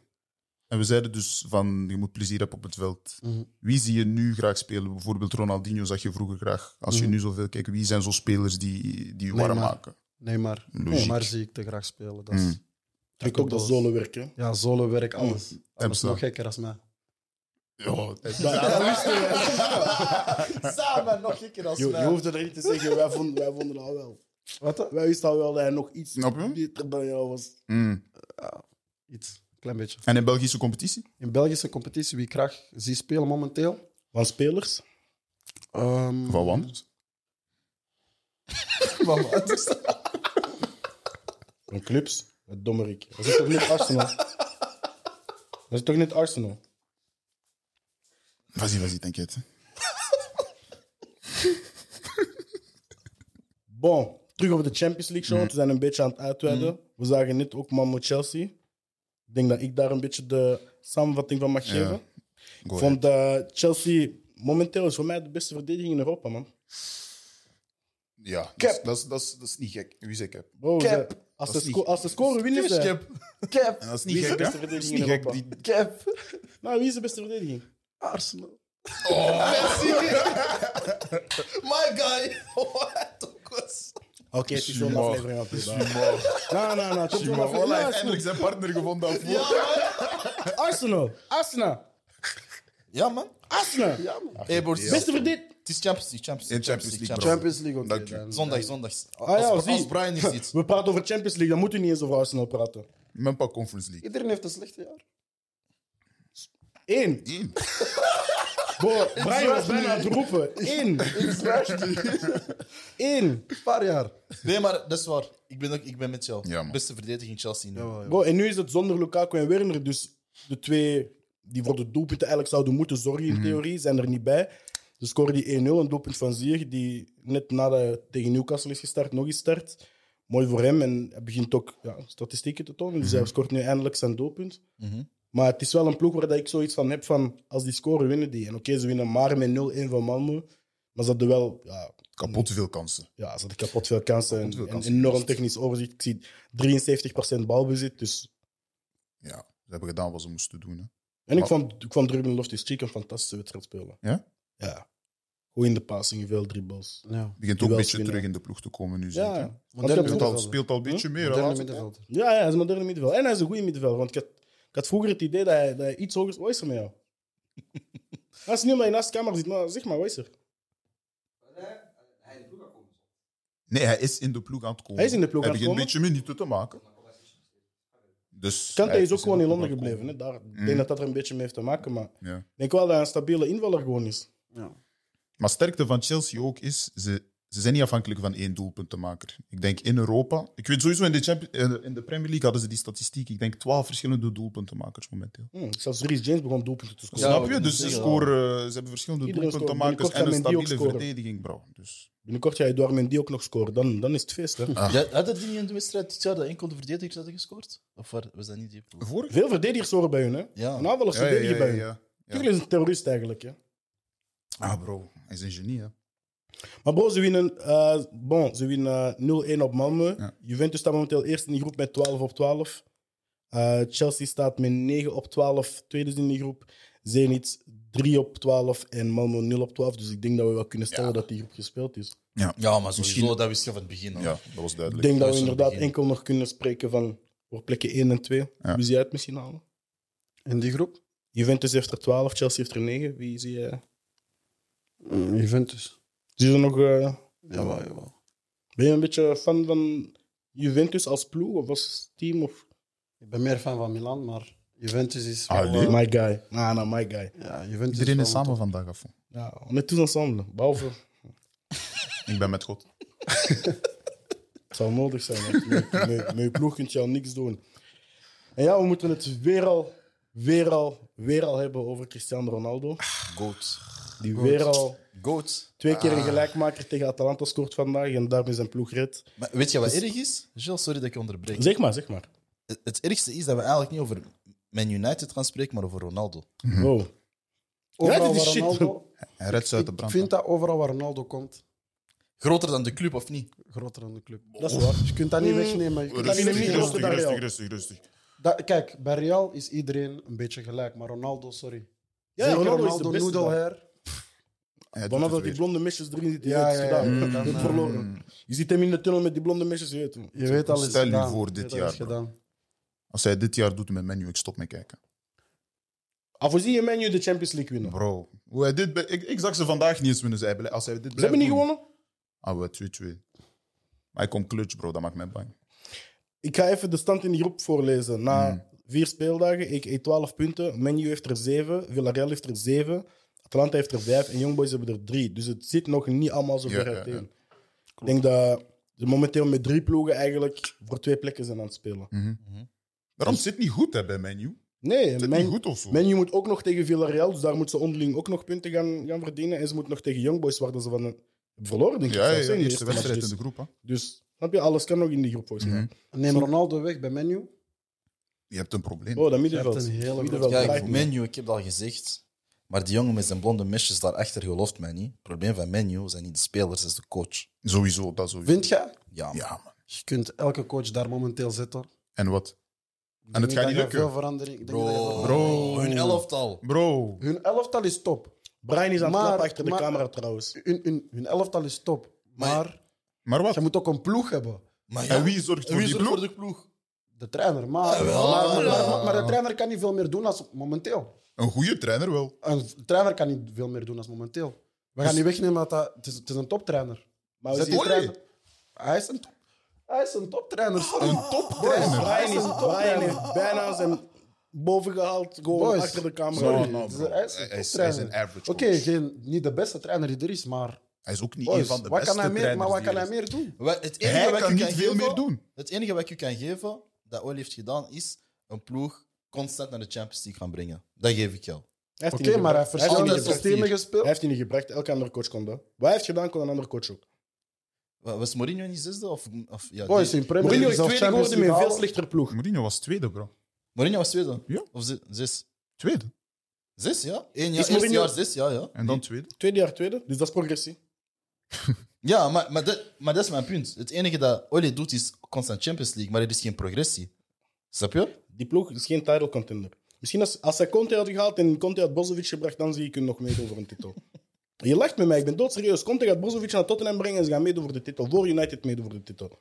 [SPEAKER 3] En we zeiden dus van, je moet plezier hebben op het veld.
[SPEAKER 4] Mhm.
[SPEAKER 3] Wie zie je nu graag spelen? Bijvoorbeeld Ronaldinho zag je vroeger graag. Als je
[SPEAKER 4] Mhm.
[SPEAKER 3] nu zoveel kijkt, wie zijn zo spelers die, die je warm
[SPEAKER 4] Neymar.
[SPEAKER 3] maken?
[SPEAKER 4] Nee, maar...
[SPEAKER 3] Logiek.
[SPEAKER 4] Maar zie ik te graag spelen. Dat is...
[SPEAKER 3] Mm.
[SPEAKER 2] Ik ook dat zolenwerk, hè.
[SPEAKER 4] Ja, zolenwerk, alles. Dat is
[SPEAKER 3] Temsa.
[SPEAKER 4] nog gekker als mij.
[SPEAKER 3] Ja, dat-
[SPEAKER 1] samen, nog een keer als
[SPEAKER 2] Je, je
[SPEAKER 1] mij.
[SPEAKER 2] hoeft er niet te zeggen, wij vonden, wij vonden dat wel. Wat? Wij wisten al wel dat hij nog iets
[SPEAKER 3] Snap je?
[SPEAKER 2] beter dan jou was.
[SPEAKER 3] Mm.
[SPEAKER 4] Iets, klein beetje.
[SPEAKER 3] En in Belgische competitie?
[SPEAKER 4] In Belgische competitie, wie ik graag zie spelen momenteel...
[SPEAKER 2] Van spelers?
[SPEAKER 4] ehm,
[SPEAKER 3] Van want?
[SPEAKER 2] Van clubs? Het dommerik. Dat is toch niet Arsenal? Dat is toch niet Arsenal?
[SPEAKER 3] Vas-y, vas-y, t'inquiète.
[SPEAKER 2] Bon, terug over de Champions League
[SPEAKER 3] Mhm.
[SPEAKER 2] show. want We zijn een beetje aan het uitweiden. We zagen net ook Mammo Chelsea. Ik denk dat ik daar een beetje de samenvatting van mag geven.
[SPEAKER 3] Go
[SPEAKER 2] Ik vond eh, Chelsea momenteel is voor mij de beste verdediging in Europa, man.
[SPEAKER 3] Ja, dat is, dat, is, dat, is, dat is niet gek. Wie zei cap?
[SPEAKER 2] Bro,
[SPEAKER 4] Cap.
[SPEAKER 2] ze- als,
[SPEAKER 3] Dat
[SPEAKER 2] ze
[SPEAKER 3] is niet-
[SPEAKER 2] sco- als ze scoren, winnen
[SPEAKER 3] Kies
[SPEAKER 2] ze.
[SPEAKER 3] cap.
[SPEAKER 4] Cap,
[SPEAKER 3] En dat is
[SPEAKER 2] Wie is
[SPEAKER 3] niet
[SPEAKER 2] de beste
[SPEAKER 3] gek, hè? Dat is
[SPEAKER 2] verdediging
[SPEAKER 3] niet
[SPEAKER 2] in
[SPEAKER 3] gek.
[SPEAKER 2] Europa?
[SPEAKER 3] Die...
[SPEAKER 4] cap.
[SPEAKER 2] Nou, wie is de beste verdediging?
[SPEAKER 4] Arsenal.
[SPEAKER 1] My guy. What?
[SPEAKER 2] Oké, het is zo'n
[SPEAKER 3] Schumacher.
[SPEAKER 2] aflevering aan het doen. Nou, nou, nou. het is zo'n
[SPEAKER 3] Maar
[SPEAKER 2] aflevering.
[SPEAKER 3] voilà, hij heeft
[SPEAKER 2] Arsenal.
[SPEAKER 3] eindelijk zijn partner gevonden daarvoor.
[SPEAKER 2] Arsenal. Arsenal.
[SPEAKER 1] Ja, man.
[SPEAKER 2] Arsenal.
[SPEAKER 1] Hey, broer, het
[SPEAKER 2] Beste
[SPEAKER 1] is-
[SPEAKER 2] verdediging.
[SPEAKER 1] het is Champions League, Champions League.
[SPEAKER 3] In Champions League, bro.
[SPEAKER 4] Champions League, oké.
[SPEAKER 3] Dank je.
[SPEAKER 4] dan-
[SPEAKER 1] Zondag, zondags.
[SPEAKER 2] Ah, ja,
[SPEAKER 1] Als,
[SPEAKER 2] zie.
[SPEAKER 1] als Brian hier zit.
[SPEAKER 2] We praten over Champions League, dan moeten we niet eens over Arsenal praten.
[SPEAKER 3] Même pas Conference League.
[SPEAKER 4] Iedereen heeft een slechte jaar.
[SPEAKER 2] Eén.
[SPEAKER 3] Eén.
[SPEAKER 2] Bro, Brian was bijna aan het roepen. Eén. Eén.
[SPEAKER 4] Een paar jaar.
[SPEAKER 1] Nee, maar dat is waar. Ik ben, ook, ik ben met jou.
[SPEAKER 3] Ja, man.
[SPEAKER 1] Beste verdediging Chelsea nu.
[SPEAKER 2] Bro, en nu is het zonder Lukaku en Werner. Dus de twee die voor de doelpunten eigenlijk zouden moeten zorgen
[SPEAKER 3] Mhm.
[SPEAKER 2] in theorie, zijn er niet bij. Ze scoren die 1-0, een doelpunt van Zier, die net nadat hij tegen Newcastle is gestart, nog eens start. Mooi voor hem en hij begint ook ja, statistieken te tonen. Dus
[SPEAKER 3] Mhm.
[SPEAKER 2] hij scoort nu eindelijk zijn doelpunt.
[SPEAKER 1] Mhm.
[SPEAKER 2] Maar het is wel een ploeg waar dat ik zoiets van heb van als die scoren, winnen die. En oké, ze winnen maar met 0-1 van Malmö. Maar ze hadden wel ja,
[SPEAKER 3] Kapot veel kansen.
[SPEAKER 2] Ja, ze hadden kapot veel kansen.
[SPEAKER 3] Kapot
[SPEAKER 2] En,
[SPEAKER 3] veel
[SPEAKER 2] en
[SPEAKER 3] kansen.
[SPEAKER 2] enorm technisch overzicht. Ik zie 73% balbezit. Dus...
[SPEAKER 3] Ja, ze hebben gedaan wat ze moesten doen. Hè.
[SPEAKER 2] En ik
[SPEAKER 3] Maar-
[SPEAKER 2] vond, ik vond Ruben Loftus-Cheek een fantastische wedstrijd spelen.
[SPEAKER 3] Ja?
[SPEAKER 2] Ja. Goed in de passing, veel dribbles.
[SPEAKER 4] Ja.
[SPEAKER 3] Begint ook een
[SPEAKER 2] Duels
[SPEAKER 3] beetje
[SPEAKER 2] winnen.
[SPEAKER 3] terug in de ploeg te komen nu.
[SPEAKER 2] Ja,
[SPEAKER 3] zeker.
[SPEAKER 2] ja. Want ik had-
[SPEAKER 3] Speelt al,
[SPEAKER 4] Moderne middenvelder.
[SPEAKER 3] speelt al een beetje meer.
[SPEAKER 4] Moderne
[SPEAKER 3] laatst.
[SPEAKER 4] middenvelder.
[SPEAKER 2] ja, ja, hij is een moderne middenvelder. En hij is een goede middenvelder. Want ik had, ik had vroeger het idee dat hij, dat hij iets hoger is. Wat is er met jou? Als nu maar je naast de camera zit, maar zeg maar, wat is er?
[SPEAKER 3] Nee, hij is in de ploeg aan het komen.
[SPEAKER 2] Hij is in de ploeg
[SPEAKER 3] hij
[SPEAKER 2] aan het
[SPEAKER 3] begint een beetje minuten te maken. Dus
[SPEAKER 2] Kante
[SPEAKER 3] hij
[SPEAKER 2] is ook gewoon
[SPEAKER 3] de
[SPEAKER 2] in
[SPEAKER 3] ploeg
[SPEAKER 2] Londen
[SPEAKER 3] aan het
[SPEAKER 2] gebleven.
[SPEAKER 3] komen.
[SPEAKER 2] Hè? Daar, Ik
[SPEAKER 3] Mhm.
[SPEAKER 2] denk dat dat er een beetje mee heeft te maken. Maar ik
[SPEAKER 3] Ja.
[SPEAKER 2] denk wel dat hij een stabiele invaller gewoon is.
[SPEAKER 3] Maar sterkte van Chelsea ook is, ze, ze zijn niet afhankelijk van één doelpuntenmaker. Ik denk in Europa. Ik weet sowieso, in de, Champions- eh, in de Premier League hadden ze die statistiek. Ik denk twaalf verschillende doelpuntenmakers momenteel.
[SPEAKER 2] Hm, zelfs Reece James begon doelpunten te scoren.
[SPEAKER 1] Ja,
[SPEAKER 3] Snap
[SPEAKER 1] we
[SPEAKER 3] je? Dus ze,
[SPEAKER 1] moeten zeggen,
[SPEAKER 3] scoren, eh, ze hebben verschillende
[SPEAKER 2] Iedereen scoort.
[SPEAKER 3] doelpuntenmakers
[SPEAKER 2] Binnenkort
[SPEAKER 3] en een
[SPEAKER 2] gaat Mendy ook
[SPEAKER 3] stabiele
[SPEAKER 2] scoren.
[SPEAKER 3] verdediging, bro. Dus
[SPEAKER 2] Binnenkort ga je Eduard Mendy ook nog scoren. Dan, dan is het feest. Hè?
[SPEAKER 1] Ja, had dat niet in de wedstrijd dit jaar dat enkel de verdedigers hadden gescoord? Of waar- was dat niet die ploeg?
[SPEAKER 3] vorig
[SPEAKER 2] Veel verdedigers horen bij hun. Hè?
[SPEAKER 1] Ja.
[SPEAKER 2] En aanvallers
[SPEAKER 3] ja, ja,
[SPEAKER 2] verdedigen
[SPEAKER 3] ja,
[SPEAKER 2] bij hun.
[SPEAKER 3] ja. ja.
[SPEAKER 2] Tuurlijk is een terrorist eigenlijk. Hè?
[SPEAKER 3] Ah, bro. Hij is een genie, hè.
[SPEAKER 2] Maar bro, ze winnen, eh, bon, ze winnen eh, 0-1 op Malmö.
[SPEAKER 3] Ja.
[SPEAKER 2] Juventus staat momenteel eerst in die groep met 12 op 12. Eh, Chelsea staat met 9 op 12, tweede in die groep. Zenit 3 op 12 en Malmö 0 op 12. Dus ik denk dat we wel kunnen stellen
[SPEAKER 3] Ja.
[SPEAKER 2] dat die groep gespeeld is.
[SPEAKER 1] Ja, maar sowieso,
[SPEAKER 3] Misschien-
[SPEAKER 1] dat wist je van het begin al.
[SPEAKER 3] Ja, dat was
[SPEAKER 2] Ik
[SPEAKER 3] duidelijk.
[SPEAKER 2] denk dat we
[SPEAKER 1] is een
[SPEAKER 2] inderdaad
[SPEAKER 1] begin.
[SPEAKER 2] enkel nog kunnen spreken van voor plekken 1 en 2.
[SPEAKER 3] Ja.
[SPEAKER 2] Wie zie je uit misschien halen?
[SPEAKER 4] In die groep?
[SPEAKER 2] Juventus heeft er 12, Chelsea heeft er 9. Wie zie je?
[SPEAKER 4] Mm, Juventus.
[SPEAKER 2] Zie je er nog... eh,
[SPEAKER 4] Jawel, jawel.
[SPEAKER 2] Ben je een beetje fan van Juventus als ploeg of als team? Of...
[SPEAKER 4] Ik ben meer fan van Milan, maar Juventus is.
[SPEAKER 3] Allee.
[SPEAKER 2] Oh, My guy. Nah, nah, my guy. Nou,
[SPEAKER 4] Ja, Juventus
[SPEAKER 3] Iedereen is
[SPEAKER 4] wel-
[SPEAKER 3] samen vandaag, af.
[SPEAKER 2] Ja, on est tous ensemble. Behalve,
[SPEAKER 3] Ik ben met God.
[SPEAKER 2] het zou nodig zijn. want Met, met, met je ploeg kun je al niks doen. En ja, we moeten het weer al, weer al, weer al hebben over Cristiano Ronaldo.
[SPEAKER 1] Goat.
[SPEAKER 2] Die weer al
[SPEAKER 1] Goat.
[SPEAKER 2] twee keer
[SPEAKER 3] Ah.
[SPEAKER 2] een gelijkmaker tegen Atalanta scoort vandaag en daarmee zijn ploeg redt.
[SPEAKER 1] Maar weet je wat
[SPEAKER 2] Dus-
[SPEAKER 1] erg is? Gilles, sorry dat ik je onderbreek.
[SPEAKER 2] Zeg maar, zeg maar.
[SPEAKER 1] Het- Het ergste is dat we eigenlijk niet over Man United gaan spreken, maar over Ronaldo.
[SPEAKER 3] Mhm.
[SPEAKER 2] Wow.
[SPEAKER 4] Overal
[SPEAKER 2] dit is
[SPEAKER 4] waar
[SPEAKER 2] shit.
[SPEAKER 4] Ronaldo,
[SPEAKER 3] Hij redt ze uit de
[SPEAKER 4] ik
[SPEAKER 3] brand.
[SPEAKER 4] vind dat overal waar Ronaldo komt,
[SPEAKER 1] Groter dan de club, of niet?
[SPEAKER 4] groter dan de club.
[SPEAKER 2] Dat is waar.
[SPEAKER 4] Je kunt dat niet wegnemen. Je kunt dat niet
[SPEAKER 2] Rustig,
[SPEAKER 4] wegnemen.
[SPEAKER 2] rustig, rustig,
[SPEAKER 3] rustig,
[SPEAKER 2] Real.
[SPEAKER 3] rustig, rustig.
[SPEAKER 4] Dat- kijk, bij Real is iedereen een beetje gelijk, maar Ronaldo, sorry.
[SPEAKER 2] Ja,
[SPEAKER 4] Zeker
[SPEAKER 2] Ronaldo is de beste
[SPEAKER 4] noodle
[SPEAKER 2] daar.
[SPEAKER 4] hair.
[SPEAKER 3] Hij doet
[SPEAKER 2] Vanaf
[SPEAKER 3] het
[SPEAKER 2] dat die
[SPEAKER 3] weer.
[SPEAKER 2] blonde mesjes erin zitten,
[SPEAKER 4] Ja,
[SPEAKER 2] ja,
[SPEAKER 4] ja,
[SPEAKER 2] ja,
[SPEAKER 4] ja. Mm. Dan, eh,
[SPEAKER 2] verloren. Je ziet hem in de tunnel met die blonde mesjes, je weet hem.
[SPEAKER 4] Je weet alles.
[SPEAKER 3] Stel Mhm. je voor dit jaar, bro.
[SPEAKER 4] Gedaan.
[SPEAKER 3] Als hij dit jaar doet met menu, ik stop met kijken.
[SPEAKER 2] Ah, voorzien je menu de Champions League winnen.
[SPEAKER 3] Bro, hoe hij dit be- ik, ik zag ze vandaag niet eens winnen. Ze hebben, als hij dit
[SPEAKER 2] Ze hebben niet gewonnen.
[SPEAKER 3] Ah, we 2-2. Maar hij komt clutch, bro. Dat maakt mij bang.
[SPEAKER 2] Ik ga even de stand in de groep voorlezen. Na
[SPEAKER 3] Hmm.
[SPEAKER 2] vier speeldagen, ik eet 12 punten. Menu heeft er 7, Villarreal heeft er 7, Atlanta heeft er 5 en Young Boys hebben er 3. Dus het zit nog niet allemaal zo
[SPEAKER 3] Ja,
[SPEAKER 2] ver
[SPEAKER 3] ja,
[SPEAKER 2] uiteen.
[SPEAKER 3] ja.
[SPEAKER 2] Ik denk dat ze momenteel met drie ploegen eigenlijk voor twee plekken zijn aan het spelen.
[SPEAKER 3] Daarom zit niet goed hè, bij menu.
[SPEAKER 2] Nee,
[SPEAKER 3] Zit
[SPEAKER 2] men,
[SPEAKER 3] niet goed of zo.
[SPEAKER 2] Menu moet ook nog tegen Villarreal, dus daar moet ze onderling ook nog punten gaan, gaan verdienen. En ze moet nog tegen Young Boys, waar dat ze van een verloren denk ik.
[SPEAKER 3] ja, ja,
[SPEAKER 2] zelfs, hè,
[SPEAKER 3] ja,
[SPEAKER 2] in de
[SPEAKER 3] eerste
[SPEAKER 2] match.
[SPEAKER 3] wedstrijd in
[SPEAKER 2] Dus-
[SPEAKER 3] de groep. Mhm. Hè.
[SPEAKER 2] Dus snap je, alles kan nog in die groep volgens mij.
[SPEAKER 4] Neem Ronaldo weg bij menu.
[SPEAKER 3] Je hebt een probleem.
[SPEAKER 2] Oh, dat
[SPEAKER 4] Je
[SPEAKER 2] middenveld.
[SPEAKER 4] hebt een hele
[SPEAKER 2] middenveld.
[SPEAKER 4] grote-
[SPEAKER 2] draait
[SPEAKER 1] Kijk,
[SPEAKER 2] niet.
[SPEAKER 1] menu, ik heb dat al gezegd. Maar die jongen met zijn blonde mesjes daarachter gelooft mij niet. Het probleem van menu zijn niet de spelers, dat is de coach.
[SPEAKER 3] Sowieso, dat sowieso.
[SPEAKER 4] Vind je?
[SPEAKER 1] Ja, man.
[SPEAKER 3] Ja, man.
[SPEAKER 4] Je kunt elke coach daar momenteel zetten.
[SPEAKER 3] En wat?
[SPEAKER 4] Ik
[SPEAKER 3] En
[SPEAKER 4] denk
[SPEAKER 3] het gaat
[SPEAKER 4] dat
[SPEAKER 3] niet
[SPEAKER 4] je
[SPEAKER 3] lukken.
[SPEAKER 4] Veel verandering. Ik denk dat je
[SPEAKER 1] Bro,
[SPEAKER 4] veel-
[SPEAKER 3] Bro.
[SPEAKER 1] hun elftal.
[SPEAKER 3] Bro.
[SPEAKER 4] Hun elftal is top.
[SPEAKER 2] Brian is aan het
[SPEAKER 4] Maar-
[SPEAKER 2] klappen achter de
[SPEAKER 4] maar-
[SPEAKER 2] camera trouwens.
[SPEAKER 4] Hun, hun, hun elftal is top. Maar,
[SPEAKER 3] Maar wat?
[SPEAKER 4] je moet ook een ploeg hebben.
[SPEAKER 1] Maar ja,
[SPEAKER 3] En wie zorgt
[SPEAKER 1] en
[SPEAKER 3] voor
[SPEAKER 1] wie
[SPEAKER 3] die
[SPEAKER 1] zorgt
[SPEAKER 3] ploeg?
[SPEAKER 1] voor de ploeg?
[SPEAKER 4] De trainer. Maar,
[SPEAKER 1] wel.
[SPEAKER 4] maar, maar, maar- maar de trainer kan niet veel meer doen als momenteel.
[SPEAKER 3] Een goede trainer wel.
[SPEAKER 4] Een trainer kan niet veel meer doen als momenteel. We gaan
[SPEAKER 3] Dus-
[SPEAKER 4] niet wegnemen dat dat... Het is, het is een toptrainer.
[SPEAKER 2] Maar we
[SPEAKER 4] Zet die
[SPEAKER 2] zien-
[SPEAKER 3] Olé.
[SPEAKER 4] trainer- Hij is een, top- hij is een toptrainer.
[SPEAKER 3] Een
[SPEAKER 4] oh,
[SPEAKER 3] toptrainer.
[SPEAKER 2] Brian, is,
[SPEAKER 4] Top,
[SPEAKER 2] Brian heeft bijna zijn boven gehaald, gewoon
[SPEAKER 4] ah, Boys.
[SPEAKER 2] achter de camera.
[SPEAKER 3] No,
[SPEAKER 4] Sorry.
[SPEAKER 3] no,
[SPEAKER 4] Dus
[SPEAKER 3] bro.
[SPEAKER 4] hij is
[SPEAKER 3] Hij
[SPEAKER 4] een
[SPEAKER 3] is, hij is
[SPEAKER 4] toptrainer.
[SPEAKER 3] een average
[SPEAKER 4] Oké,
[SPEAKER 3] coach.
[SPEAKER 4] geen- niet de beste trainer die er is, maar...
[SPEAKER 3] Hij is ook niet een
[SPEAKER 4] Boys,
[SPEAKER 3] van de
[SPEAKER 4] wat
[SPEAKER 3] beste
[SPEAKER 4] kan hij meer,
[SPEAKER 3] trainers
[SPEAKER 4] maar wat
[SPEAKER 3] die er
[SPEAKER 4] kan hij
[SPEAKER 3] is.
[SPEAKER 4] meer doen?
[SPEAKER 1] Wa- Het enige
[SPEAKER 3] Hij
[SPEAKER 1] wat ik
[SPEAKER 3] kan
[SPEAKER 1] u
[SPEAKER 3] niet veel
[SPEAKER 1] geven-
[SPEAKER 3] meer doen.
[SPEAKER 1] Het enige wat ik u kan geven, dat Oli heeft gedaan, is een ploeg constant naar de Champions League gaan brengen. Dat geef ik jou.
[SPEAKER 2] Hij heeft
[SPEAKER 4] Oké,
[SPEAKER 2] die niet
[SPEAKER 4] maar hij dus
[SPEAKER 2] gebracht.
[SPEAKER 4] heeft
[SPEAKER 2] Hij heeft die
[SPEAKER 4] verschillende
[SPEAKER 2] niet gebracht.
[SPEAKER 4] systemen gespeeld.
[SPEAKER 2] Hij heeft die niet gebracht, elke andere coach kon dat. Wat hij heeft gedaan, kon een andere coach ook.
[SPEAKER 1] Wa- Was Mourinho niet zesde? Of, of, ja,
[SPEAKER 4] Boys,
[SPEAKER 1] die-
[SPEAKER 4] in Premier
[SPEAKER 2] Mourinho
[SPEAKER 4] League
[SPEAKER 2] is
[SPEAKER 4] zelfs
[SPEAKER 2] tweede
[SPEAKER 4] Champions
[SPEAKER 2] geworden met een veel
[SPEAKER 4] League halen.
[SPEAKER 2] slechtere ploeg.
[SPEAKER 3] Mourinho was tweede, bro.
[SPEAKER 1] Mourinho was tweede?
[SPEAKER 3] Ja.
[SPEAKER 1] Of ze- zes?
[SPEAKER 3] Tweede.
[SPEAKER 1] Zes, ja. Eén
[SPEAKER 2] Is
[SPEAKER 1] jaar, eerste
[SPEAKER 2] Mourinho-
[SPEAKER 1] jaar zes, ja, ja.
[SPEAKER 3] En dan tweede.
[SPEAKER 2] Tweede jaar tweede, dus dat is progressie.
[SPEAKER 1] Ja, maar, maar, dat, maar dat is mijn punt. Het enige dat Oli doet, is constant Champions League, maar er is geen progressie. Snap je?
[SPEAKER 2] Die ploeg is geen title contender. Misschien als, als hij Conte had gehaald en Conte had Bozovic gebracht, dan zie ik hem nog meedoen voor een titel. Je lacht met mij, ik ben doodserieus. Conte gaat Bozovic naar Tottenham brengen en ze gaan meedoen voor de titel. Voor United meedoen voor de titel.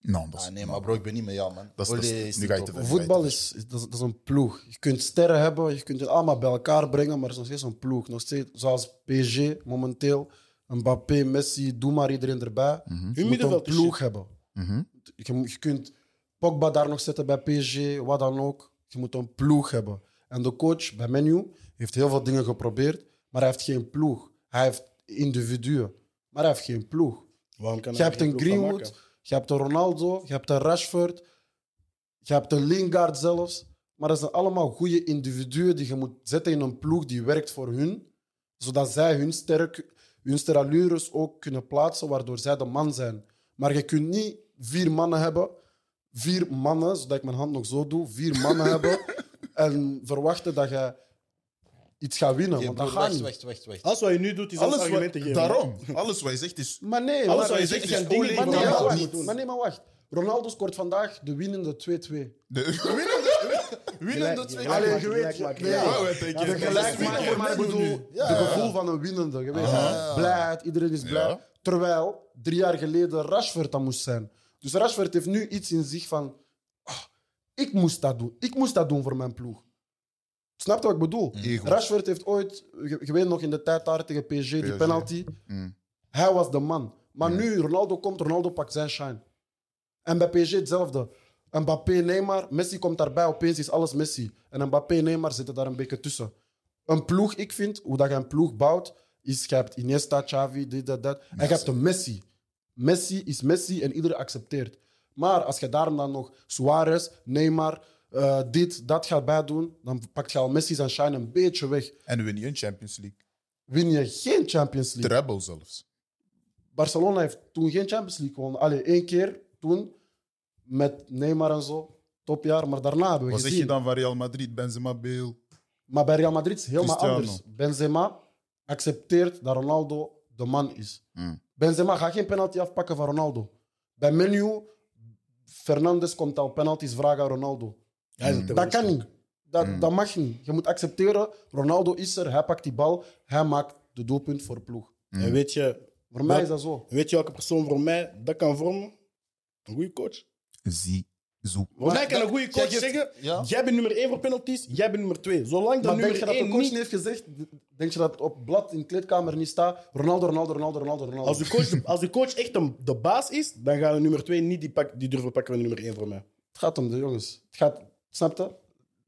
[SPEAKER 3] Nou, dat is-
[SPEAKER 1] Ah, nee, maar bro, ik ben niet met jou, man.
[SPEAKER 3] Dat is-
[SPEAKER 1] Oli
[SPEAKER 3] dat is-
[SPEAKER 1] is
[SPEAKER 3] nu
[SPEAKER 1] niet
[SPEAKER 3] ga je te
[SPEAKER 1] top.
[SPEAKER 3] ver.
[SPEAKER 4] Voetbal is, is, dat is, dat is een ploeg. Je kunt sterren hebben, je kunt het allemaal bij elkaar brengen, maar het is nog steeds een ploeg. Nog steeds, zoals PSG momenteel, Mbappé, Messi, doe maar iedereen erbij. Je moet een
[SPEAKER 2] middenveld is
[SPEAKER 4] ploeg
[SPEAKER 2] shit.
[SPEAKER 4] hebben.
[SPEAKER 3] Mhm.
[SPEAKER 4] Je, moet- je kunt Pogba daar nog zetten bij PSG, wat dan ook. Je moet een ploeg hebben. En de coach bij Menu heeft heel veel dingen geprobeerd, maar hij heeft geen ploeg. Hij heeft individuen, maar hij heeft geen ploeg.
[SPEAKER 2] Waarom kan
[SPEAKER 4] Je
[SPEAKER 2] hij
[SPEAKER 4] hebt
[SPEAKER 2] geen
[SPEAKER 4] een
[SPEAKER 2] ploeg van
[SPEAKER 4] Greenwood,
[SPEAKER 2] maken?
[SPEAKER 4] je hebt een Ronaldo, je hebt een Rashford, je hebt een Lingard zelfs. Maar dat zijn allemaal goede individuen die je moet zetten in een ploeg die werkt voor hun. Zodat zij hun, sterk, hun sterallures ook kunnen plaatsen, waardoor zij de man zijn. Maar je kunt niet vier mannen hebben, vier mannen, zodat ik mijn hand nog zo doe, vier mannen hebben en verwachten dat je iets gaat winnen.
[SPEAKER 1] Oké,
[SPEAKER 4] want
[SPEAKER 1] bro,
[SPEAKER 4] dat gaat
[SPEAKER 1] wacht,
[SPEAKER 4] niet.
[SPEAKER 1] wacht, wacht, wacht.
[SPEAKER 2] Alles wat je nu doet, is alles
[SPEAKER 3] Mhm. Alles
[SPEAKER 2] argumenten
[SPEAKER 3] wat,
[SPEAKER 2] geven.
[SPEAKER 3] daarom. Alles wat je zegt is...
[SPEAKER 4] Maar nee,
[SPEAKER 2] Alles
[SPEAKER 4] maar-
[SPEAKER 2] wat je
[SPEAKER 3] je
[SPEAKER 2] zegt
[SPEAKER 3] zegt
[SPEAKER 2] is
[SPEAKER 3] is olie
[SPEAKER 2] dingen
[SPEAKER 4] Maar
[SPEAKER 2] die
[SPEAKER 3] Ja,
[SPEAKER 4] nee, maar
[SPEAKER 3] dat
[SPEAKER 2] Ronaldo moet
[SPEAKER 4] wacht,
[SPEAKER 2] doen.
[SPEAKER 4] maar nee, maar wacht. Ronaldo scoort vandaag de winnende 2-2.
[SPEAKER 3] De, winnende...
[SPEAKER 2] Gelijk-
[SPEAKER 3] winnende twee...
[SPEAKER 2] gelijk-
[SPEAKER 4] Allee,
[SPEAKER 2] maken,
[SPEAKER 4] je
[SPEAKER 2] gelijk
[SPEAKER 4] weet...
[SPEAKER 2] maken.
[SPEAKER 4] nee.
[SPEAKER 2] Ja,
[SPEAKER 3] Ja, we
[SPEAKER 4] Ja,
[SPEAKER 3] denken-
[SPEAKER 4] de gelijkmaker, maar ik bedoel,
[SPEAKER 1] Ja, ja.
[SPEAKER 4] de gevoel van een winnende. Je weet,
[SPEAKER 1] Ja.
[SPEAKER 4] blij, iedereen is blij.
[SPEAKER 3] Ja.
[SPEAKER 4] Terwijl drie jaar geleden Rashford dat moest zijn. Dus Rashford heeft nu iets in zich van... ah, ik moest dat doen. Ik moest dat doen voor mijn ploeg. Snap je wat ik bedoel?
[SPEAKER 3] Ego.
[SPEAKER 4] Rashford heeft ooit, je je weet nog in de tijd daar tegen PSG, die
[SPEAKER 3] PSG.
[SPEAKER 4] penalty.
[SPEAKER 3] Mm.
[SPEAKER 4] Hij was de man. Maar
[SPEAKER 3] Mm.
[SPEAKER 4] nu Ronaldo komt, Ronaldo pakt zijn shine. En bij PSG hetzelfde. Mbappé, Neymar, Messi komt daarbij, opeens is alles Messi. En Mbappé, Neymar zitten daar een beetje tussen. Een ploeg, ik vind, hoe dat je een ploeg bouwt, is je hebt Iniesta, Xavi, dit, dat, dat. En je hebt een Messi. Messi is Messi en iedereen accepteert. Maar als je daarom dan nog Suarez, Neymar, eh, dit, dat gaat bijdoen, dan pakt je al Messi zijn shine een beetje weg.
[SPEAKER 3] En win je een Champions League.
[SPEAKER 4] Win je geen Champions League.
[SPEAKER 3] Treble zelfs.
[SPEAKER 4] Barcelona heeft toen geen Champions League gewonnen. Allee, één keer toen met Neymar en zo. Topjaar, maar daarna hebben we
[SPEAKER 3] Wat zeg
[SPEAKER 4] gezien.
[SPEAKER 3] je dan van Real Madrid, Benzema, Bale?
[SPEAKER 4] Maar bij Real Madrid is het helemaal
[SPEAKER 3] Cristiano.
[SPEAKER 4] anders. Benzema accepteert dat Ronaldo de man is.
[SPEAKER 3] Mm.
[SPEAKER 4] Benzema gaat geen penalty afpakken van Ronaldo. Bij Menu, Fernandes komt al penalties vragen aan Ronaldo.
[SPEAKER 2] Hij is een
[SPEAKER 4] Dat
[SPEAKER 2] terrorist.
[SPEAKER 4] kan niet. Dat,
[SPEAKER 3] Mm.
[SPEAKER 4] dat mag niet. Je moet accepteren, Ronaldo is er, hij pakt die bal, hij maakt de doelpunt voor de ploeg.
[SPEAKER 3] Mm.
[SPEAKER 2] En weet je,
[SPEAKER 4] Voor mij
[SPEAKER 2] Dat-
[SPEAKER 4] is dat zo.
[SPEAKER 2] weet je welke persoon voor mij dat kan vormen? Een goede coach.
[SPEAKER 3] Zie, zo.
[SPEAKER 2] Voor mij
[SPEAKER 1] Maar
[SPEAKER 2] kan
[SPEAKER 1] dat-
[SPEAKER 2] een goede
[SPEAKER 1] jij
[SPEAKER 2] coach
[SPEAKER 1] geeft-
[SPEAKER 2] zeggen:
[SPEAKER 1] ja.
[SPEAKER 2] jij bent nummer 1 voor penalties, jij bent nummer 2. Zolang dat
[SPEAKER 4] Maar denk je
[SPEAKER 2] nummer
[SPEAKER 4] dat de
[SPEAKER 2] 1
[SPEAKER 4] coach
[SPEAKER 2] niet
[SPEAKER 4] niet heeft gezegd? Denk je dat op blad in de kleedkamer niet staat? Ronaldo, Ronaldo, Ronaldo, Ronaldo, Ronaldo.
[SPEAKER 2] Als de coach, als de coach echt een- de baas is, dan gaan de nummer 2 niet die, pak, die durven pakken van de nummer 1 voor mij.
[SPEAKER 4] Het gaat om de jongens. Het gaat, snap je?